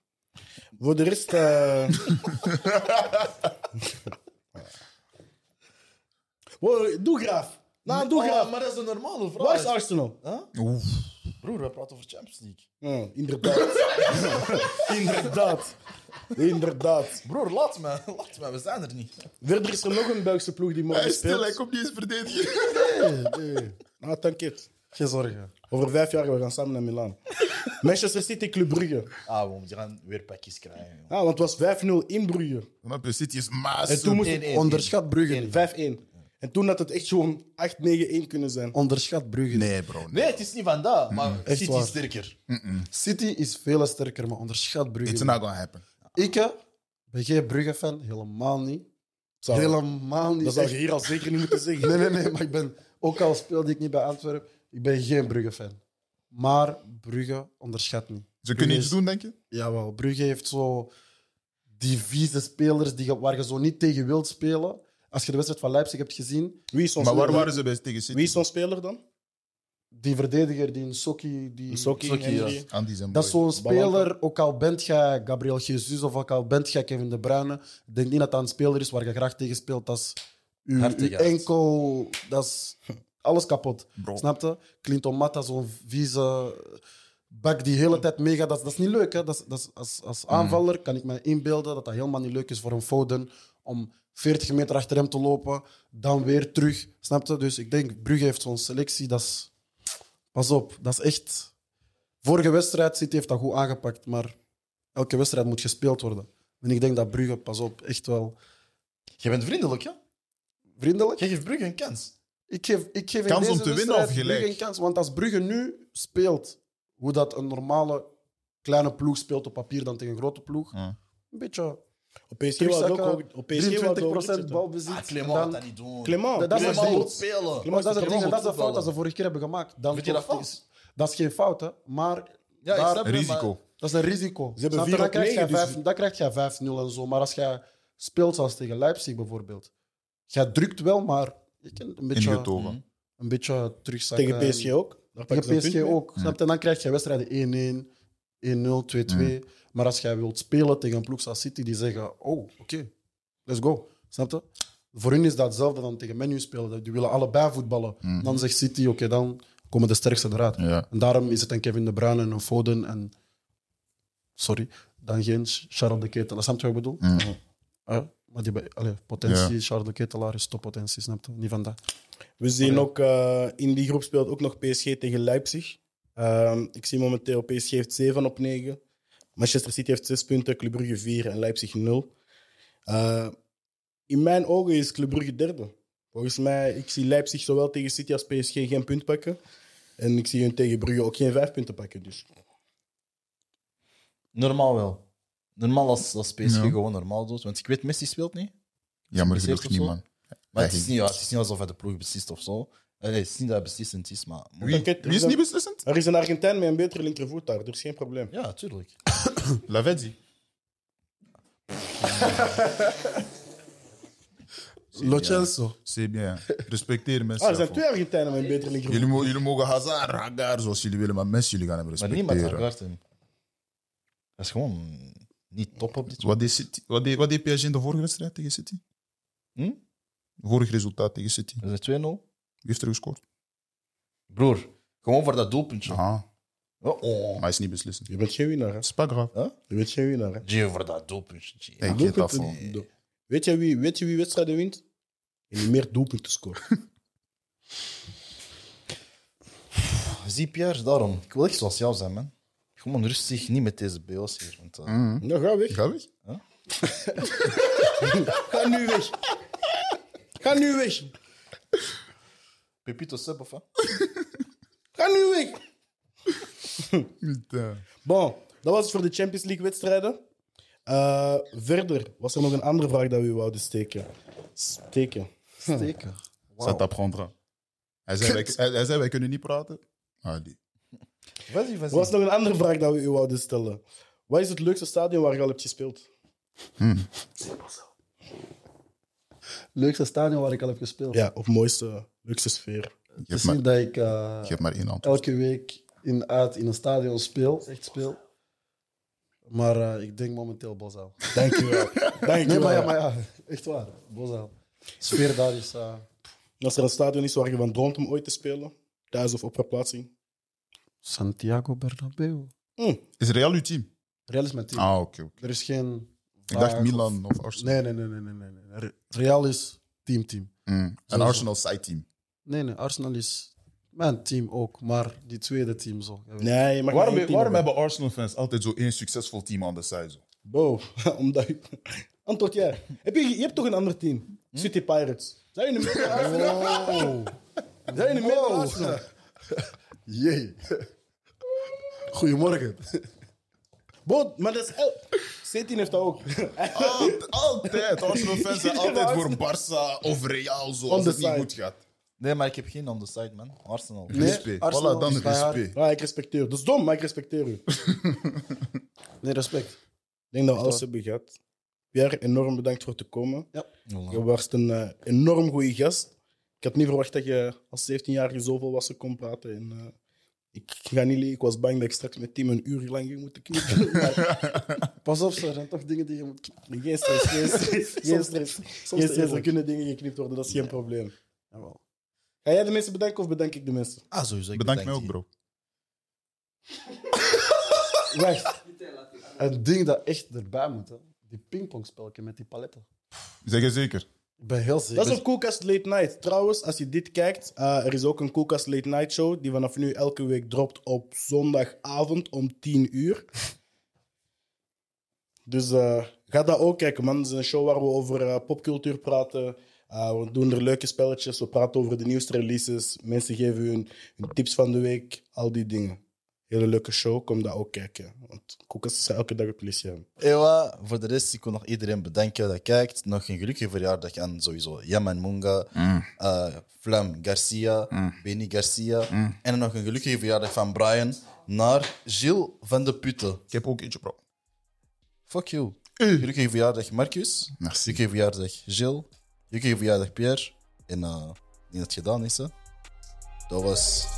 [SPEAKER 2] Voor de rest... eh, Wow, doe graaf. Nou, doe graaf.
[SPEAKER 1] Oh, maar dat is een normale
[SPEAKER 2] Waar is
[SPEAKER 1] vraag.
[SPEAKER 2] Arsenal?
[SPEAKER 3] Oef.
[SPEAKER 1] Broer, we praten over Champions League.
[SPEAKER 2] Ja, inderdaad. inderdaad. Inderdaad.
[SPEAKER 1] Broer, laat me. Laat me, we zijn er niet.
[SPEAKER 2] Verder is er nog een Belgische ploeg die
[SPEAKER 3] Hij
[SPEAKER 2] morgen
[SPEAKER 3] is stil, hij
[SPEAKER 2] speelt.
[SPEAKER 3] komt niet eens verdedigen.
[SPEAKER 2] Ah, dank je.
[SPEAKER 4] Geen zorgen.
[SPEAKER 2] Over vijf jaar we gaan samen naar Milaan. Manchester City Club Brugge.
[SPEAKER 1] Ah, we die gaan weer pakjes krijgen. joh.
[SPEAKER 2] Ah, want het was 5-0 in Brugge.
[SPEAKER 3] Snap je? City is maas.
[SPEAKER 2] En toen moest
[SPEAKER 1] Nee, nee, nee.
[SPEAKER 4] Onderschat Brugge niet.
[SPEAKER 2] 5-1. En toen had het echt gewoon 8-9-1 kunnen zijn.
[SPEAKER 4] Oh, Onderschat Brugge niet.
[SPEAKER 3] Nee, bro.
[SPEAKER 1] Nee, het is niet van dat, maar
[SPEAKER 4] Echt
[SPEAKER 1] City
[SPEAKER 4] waar.
[SPEAKER 1] is sterker.
[SPEAKER 4] City is veel sterker, maar onderschat Brugge
[SPEAKER 3] It's
[SPEAKER 4] niet.
[SPEAKER 3] not gonna happen.
[SPEAKER 4] Ik eh, ben geen Brugge-fan, helemaal niet.
[SPEAKER 2] Zou-
[SPEAKER 4] Helemaal niet.
[SPEAKER 2] dat zou
[SPEAKER 4] Echt-
[SPEAKER 2] je hier al zeker niet moeten zeggen.
[SPEAKER 4] Nee, nee, nee, maar ik ben, ook al speelde ik niet bij Antwerpen, ik ben geen Brugge-fan. Maar Brugge onderschat niet.
[SPEAKER 3] Ze kunnen
[SPEAKER 4] is-
[SPEAKER 3] iets doen, denk je?
[SPEAKER 4] Jawel, Brugge heeft zo die vieze spelers die, je- waar je zo niet tegen wilt spelen. Als je de wedstrijd van Leipzig hebt gezien,
[SPEAKER 2] Wie is ons
[SPEAKER 3] Maar waar
[SPEAKER 2] speler?
[SPEAKER 3] waren ze bij tegen City?
[SPEAKER 2] Wie is ons speler dan?
[SPEAKER 4] die verdediger, die Sokki, die...
[SPEAKER 2] Sokki.
[SPEAKER 1] Sokki,
[SPEAKER 2] Henry.
[SPEAKER 1] ja.
[SPEAKER 3] Andy zijn
[SPEAKER 4] Dat is
[SPEAKER 3] boy.
[SPEAKER 4] zo'n speler, ook al bent jij Gabriel Jesus of ook al bent jij Kevin De Bruyne, ik denk niet dat dat een speler is waar je graag tegen speelt. Dat is uw,
[SPEAKER 1] Hart
[SPEAKER 4] uw
[SPEAKER 1] tegen hart.
[SPEAKER 4] enkel, dat is alles kapot.
[SPEAKER 3] Bro.
[SPEAKER 4] Snap je? Clinton Mata, zo'n vieze bak die de hele tijd meegaat. Dat, is- dat is niet leuk. Hè? Dat is, dat is, als, als aanvaller kan ik me inbeelden dat dat helemaal niet leuk is voor een Foden om 40 meter achter hem te lopen, dan weer terug. Snap je? Dus ik denk, Brugge heeft zo'n selectie, dat is... Pas op, dat is echt... Vorige wedstrijd, City heeft dat goed aangepakt, maar elke wedstrijd moet gespeeld worden. En ik denk dat Brugge, pas op, echt wel
[SPEAKER 1] Je bent vriendelijk, ja?
[SPEAKER 4] vriendelijk.
[SPEAKER 1] Je geeft Brugge een kans.
[SPEAKER 4] Ik geef, ik geef
[SPEAKER 3] Kans
[SPEAKER 4] in
[SPEAKER 3] om
[SPEAKER 4] deze
[SPEAKER 3] te winnen
[SPEAKER 4] wedstrijd
[SPEAKER 3] of gelijk?
[SPEAKER 4] Brugge een kans, want als Brugge nu speelt hoe dat een normale kleine ploeg speelt op papier dan tegen een grote ploeg,
[SPEAKER 3] Ja.
[SPEAKER 4] een beetje
[SPEAKER 2] Op PSG wou ik ook...
[SPEAKER 4] terugzakken,
[SPEAKER 2] hoog- Op PSG wou ik ook hoog
[SPEAKER 4] 23%
[SPEAKER 2] zitten.
[SPEAKER 4] balbezit.
[SPEAKER 1] Ah,
[SPEAKER 4] en
[SPEAKER 1] Clement
[SPEAKER 4] dan-
[SPEAKER 1] gaat dat niet doen.
[SPEAKER 2] Clement.
[SPEAKER 4] Dat- dat is
[SPEAKER 1] Clement
[SPEAKER 4] het ding.
[SPEAKER 1] moet spelen.
[SPEAKER 4] Maar dat is het
[SPEAKER 1] Clement
[SPEAKER 4] ding, en
[SPEAKER 1] moet
[SPEAKER 4] dat is de fout
[SPEAKER 1] voetballen.
[SPEAKER 4] dat ze vorige keer hebben gemaakt. Dan
[SPEAKER 1] Vind je dat
[SPEAKER 4] toch-
[SPEAKER 1] fout?
[SPEAKER 4] Dat is geen fout, hè. maar
[SPEAKER 1] Ja, ik
[SPEAKER 4] daar-
[SPEAKER 1] snap het,
[SPEAKER 3] Risico.
[SPEAKER 4] dat is een risico.
[SPEAKER 2] Ze hebben
[SPEAKER 4] Snap je?
[SPEAKER 2] vier
[SPEAKER 4] dan
[SPEAKER 2] op
[SPEAKER 4] krijg
[SPEAKER 2] negen,
[SPEAKER 4] jij
[SPEAKER 2] dus-
[SPEAKER 4] vijf- Dan krijg jij 5-0 en zo. Maar als jij speelt zoals tegen Leipzig bijvoorbeeld, jij drukt wel, maar je kunt een beetje,
[SPEAKER 3] Ingetogen.
[SPEAKER 4] een beetje terugzakken.
[SPEAKER 2] Tegen PSG ook. Daar pakken ze
[SPEAKER 4] Tegen
[SPEAKER 2] een punt
[SPEAKER 4] PSG
[SPEAKER 2] mee.
[SPEAKER 4] ook. Snap je? En dan krijg je wedstrijden 1-1, 1-0, 2-2. Maar als jij wilt spelen tegen een ploeg zoals City, die zeggen: Oh, oké, let's go. Snap je? Voor hun is dat hetzelfde dan tegen Menu spelen. Die willen allebei voetballen. Dan zegt City: Oké, dan komen de sterkste eruit.
[SPEAKER 3] Ja.
[SPEAKER 4] En daarom is het een Kevin De Bruyne en een Foden en. Sorry, dan geen Ch- Charles de Ketelaar. Snap je wat ik bedoel? Eh, maar die bij- allee, potentie, Charles de Ketelaar is toppotentie, snap je? Niet van dat.
[SPEAKER 2] We zien ook eh, in die groep speelt ook nog PSG tegen Leipzig. Ehm, ik zie momenteel PSG heeft 7 op 9. Manchester City heeft 6 punten, Club Brugge 4 en Leipzig 0. Eh, in mijn ogen is Club Brugge derde. Volgens mij, ik zie Leipzig zowel tegen City als PSG geen punt pakken. En ik zie hun tegen Brugge ook geen 5 punten pakken. Dus
[SPEAKER 1] Normaal wel. Normaal als, als PSG
[SPEAKER 3] Ja.
[SPEAKER 1] gewoon normaal doet. Want ik weet, Messi speelt niet.
[SPEAKER 3] Jammer genoeg
[SPEAKER 1] of
[SPEAKER 3] niet,
[SPEAKER 1] zo?
[SPEAKER 3] man.
[SPEAKER 1] Maar
[SPEAKER 3] Hij
[SPEAKER 1] het, is
[SPEAKER 3] ging.
[SPEAKER 1] niet, ja, het is niet alsof hij de ploeg beslist of zo. Eh, Nee, het is niet dat hij beslissend is, maar...
[SPEAKER 3] Wie,
[SPEAKER 2] Oké,
[SPEAKER 3] wie is niet beslissend?
[SPEAKER 2] Er is een Argentijn met een betere linkervoet daar, dus geen probleem.
[SPEAKER 1] Ja, tuurlijk.
[SPEAKER 3] Lavezzi.
[SPEAKER 2] Lo Celso.
[SPEAKER 3] C'est bien.
[SPEAKER 4] Oh,
[SPEAKER 3] Respecteer mensen.
[SPEAKER 2] Ah, er zijn
[SPEAKER 3] daarvoor.
[SPEAKER 2] twee Argentijnen met een betere linkervoet.
[SPEAKER 3] Jullie, mo- jullie mogen Hazard, Hagar, zoals jullie willen, maar mensen jullie gaan hem
[SPEAKER 1] Maar niemand
[SPEAKER 3] respecteren.
[SPEAKER 1] aanvaardt hem. Dat is gewoon niet top op dit moment.
[SPEAKER 3] Wat deed, City, wat, deed, wat deed PSG in de vorige wedstrijd tegen City?
[SPEAKER 1] Hm?
[SPEAKER 3] Vorig resultaat tegen City. Wie
[SPEAKER 1] Dat is 2-0.
[SPEAKER 3] heeft er gescoord?
[SPEAKER 1] Broer, gewoon voor dat doelpuntje.
[SPEAKER 3] Ah,
[SPEAKER 1] Oh, oh.
[SPEAKER 3] maar hij is niet beslissend.
[SPEAKER 2] Je bent geen winnaar, hè?
[SPEAKER 3] Het is pas grave.
[SPEAKER 2] Je bent geen winnaar, hè?
[SPEAKER 1] Gio voor dat doelpuntje. Gio.
[SPEAKER 3] Ik
[SPEAKER 2] Doelpunten-
[SPEAKER 3] geef dat voor.
[SPEAKER 2] Do- Weet je wie, weet je wie wedstrijden wint? En die meer doelpunten scoort.
[SPEAKER 1] Zie Pierre, Ah, daarom. Ik wil echt zoals jou zijn, man. Gewoon rustig, niet met deze BO's hier. Want, eh,
[SPEAKER 3] Mhm.
[SPEAKER 2] Nou, ga weg.
[SPEAKER 3] Ga weg.
[SPEAKER 2] Ga nu weg. Ga nu weg.
[SPEAKER 1] Pepito Sub of wat?
[SPEAKER 2] Ga nu weg.
[SPEAKER 3] Niet, eh.
[SPEAKER 2] Bon, dat was het voor de Champions League wedstrijden. Eh, verder was er nog een andere vraag dat we u wouden steken. Steken.
[SPEAKER 1] Steken.
[SPEAKER 3] Ça t'apprendra. Hij zei, wij, hij, hij zei, wij kunnen niet praten. Ah, die.
[SPEAKER 1] Wat is
[SPEAKER 2] Er was nog een andere vraag dat we u wouden stellen. Wat is het leukste stadion waar je al hebt gespeeld?
[SPEAKER 4] Leukste stadion waar ik al heb gespeeld.
[SPEAKER 2] Ja, of mooiste, leukste sfeer.
[SPEAKER 3] Je
[SPEAKER 4] Het
[SPEAKER 3] hebt
[SPEAKER 4] is
[SPEAKER 3] maar,
[SPEAKER 4] niet dat ik eh,
[SPEAKER 3] je hebt maar één antwoord.
[SPEAKER 4] elke week in, uit in een stadion speel, echt speel. Maar eh, ik denk momenteel Bozaal.
[SPEAKER 2] Dankjewel. Dankjewel.
[SPEAKER 4] Nee, maar ja, maar ja, echt waar. Bozaal. Sfeer daar is... eh,
[SPEAKER 2] Als er een stadion is waar je van droomt om ooit te spelen, thuis of op verplaatsing.
[SPEAKER 4] Santiago Bernabeu.
[SPEAKER 3] Is Real uw team?
[SPEAKER 4] Real is mijn team.
[SPEAKER 3] Ah, oké. oké.
[SPEAKER 4] Er is geen...
[SPEAKER 3] Ik dacht
[SPEAKER 4] vaag
[SPEAKER 3] Milan of
[SPEAKER 4] of-
[SPEAKER 3] Arsenal.
[SPEAKER 4] Nee, nee, nee, nee, nee, nee. nee. Re- Real is team-team.
[SPEAKER 3] Mm. Een
[SPEAKER 4] Sowieso.
[SPEAKER 3] Arsenal side team.
[SPEAKER 4] Nee, nee, Arsenal is mijn team ook, maar die tweede team zo. Ja, weet je.
[SPEAKER 2] Nee, je mag maar één
[SPEAKER 3] Waarom,
[SPEAKER 2] team
[SPEAKER 3] waarom
[SPEAKER 2] hebben.
[SPEAKER 3] hebben Arsenal-fans altijd zo één succesvol team aan de side? Zo?
[SPEAKER 2] Bo, omdat je... Antwoord jij. Heb je, je hebt toch een ander team? City Pirates. Zijn jullie mee met Arsenal? Zijn jullie mee met Arsenal?
[SPEAKER 4] Jee. Goedemorgen.
[SPEAKER 2] Bo, maar dat is... el- City heeft dat ook.
[SPEAKER 3] Alt- altijd. Arsenal-fans zijn altijd voor Barça of Real, zo,
[SPEAKER 2] On
[SPEAKER 3] als
[SPEAKER 2] the
[SPEAKER 3] het niet
[SPEAKER 2] side.
[SPEAKER 3] goed gaat.
[SPEAKER 1] Nee, maar ik heb geen on the side, man. Arsenal.
[SPEAKER 4] Nee,
[SPEAKER 3] respect.
[SPEAKER 4] Arsenal
[SPEAKER 3] Voilà, dan
[SPEAKER 4] is bij haar.
[SPEAKER 3] respect.
[SPEAKER 2] Ja, Ah, ik respecteer u. Dat is dom, maar ik respecteer u. Ik
[SPEAKER 4] Nee, respect.
[SPEAKER 2] denk dat we alles hebben gehad. Pierre, enorm bedankt voor te komen. Je
[SPEAKER 1] Voilà.
[SPEAKER 2] was een eh, enorm goede gast. Ik had niet verwacht dat je als 17-jarige zoveel was kon praten. En, eh, ik ga niet liegen, ik was bang dat ik straks met Tim een uur lang ging moeten knippen. Maar
[SPEAKER 4] Pas op, er zijn toch dingen die je moet knippen.
[SPEAKER 2] geen stress, geen stress. Geen
[SPEAKER 4] Soms-
[SPEAKER 2] stress.
[SPEAKER 4] Soms
[SPEAKER 2] Geen
[SPEAKER 4] te
[SPEAKER 2] stress, er
[SPEAKER 4] eerlijk.
[SPEAKER 2] kunnen dingen geknipt worden, dat is geen probleem.
[SPEAKER 4] Jawel.
[SPEAKER 2] Ga jij de mensen bedanken of bedank ik de mensen?
[SPEAKER 1] Ah, sowieso. ik
[SPEAKER 3] Bedankt mij ook,
[SPEAKER 1] die.
[SPEAKER 3] bro.
[SPEAKER 4] Wacht. Een ding dat echt erbij moet, hè. die pingpongspelken met die paletten.
[SPEAKER 3] Zeg je zeker?
[SPEAKER 4] Ik ben heel zeker.
[SPEAKER 2] Dat is op Koelkast Late Night. Trouwens, als je dit kijkt, eh, er is ook een Koelkast Late Night Show die vanaf nu elke week dropt op zondagavond om 10 uur. Dus eh, ga dat ook kijken, man. Het is een show waar we over eh, popcultuur praten. Eh, we doen er leuke spelletjes. We praten over de nieuwste releases. Mensen geven hun, hun tips van de week. Al die dingen. Hele leuke show. Kom dat ook kijken. Want Koelkast is elke dag op Lyceum.
[SPEAKER 1] Ewa, voor de rest, ik wil nog iedereen bedanken dat kijkt. Nog een gelukkige verjaardag aan sowieso Yaman Munga, eh, Flam Garcia, Benny Garcia. En nog een gelukkige verjaardag van Brian naar Gilles van de Putten.
[SPEAKER 3] Ik heb ook eentje, bro.
[SPEAKER 1] Fuck you. Gelukkige verjaardag Marcus.
[SPEAKER 3] Merci.
[SPEAKER 1] Gelukkige verjaardag Gilles. Gelukkige verjaardag Pierre. En eh, ik denk dat het gedaan is, hè. Dat was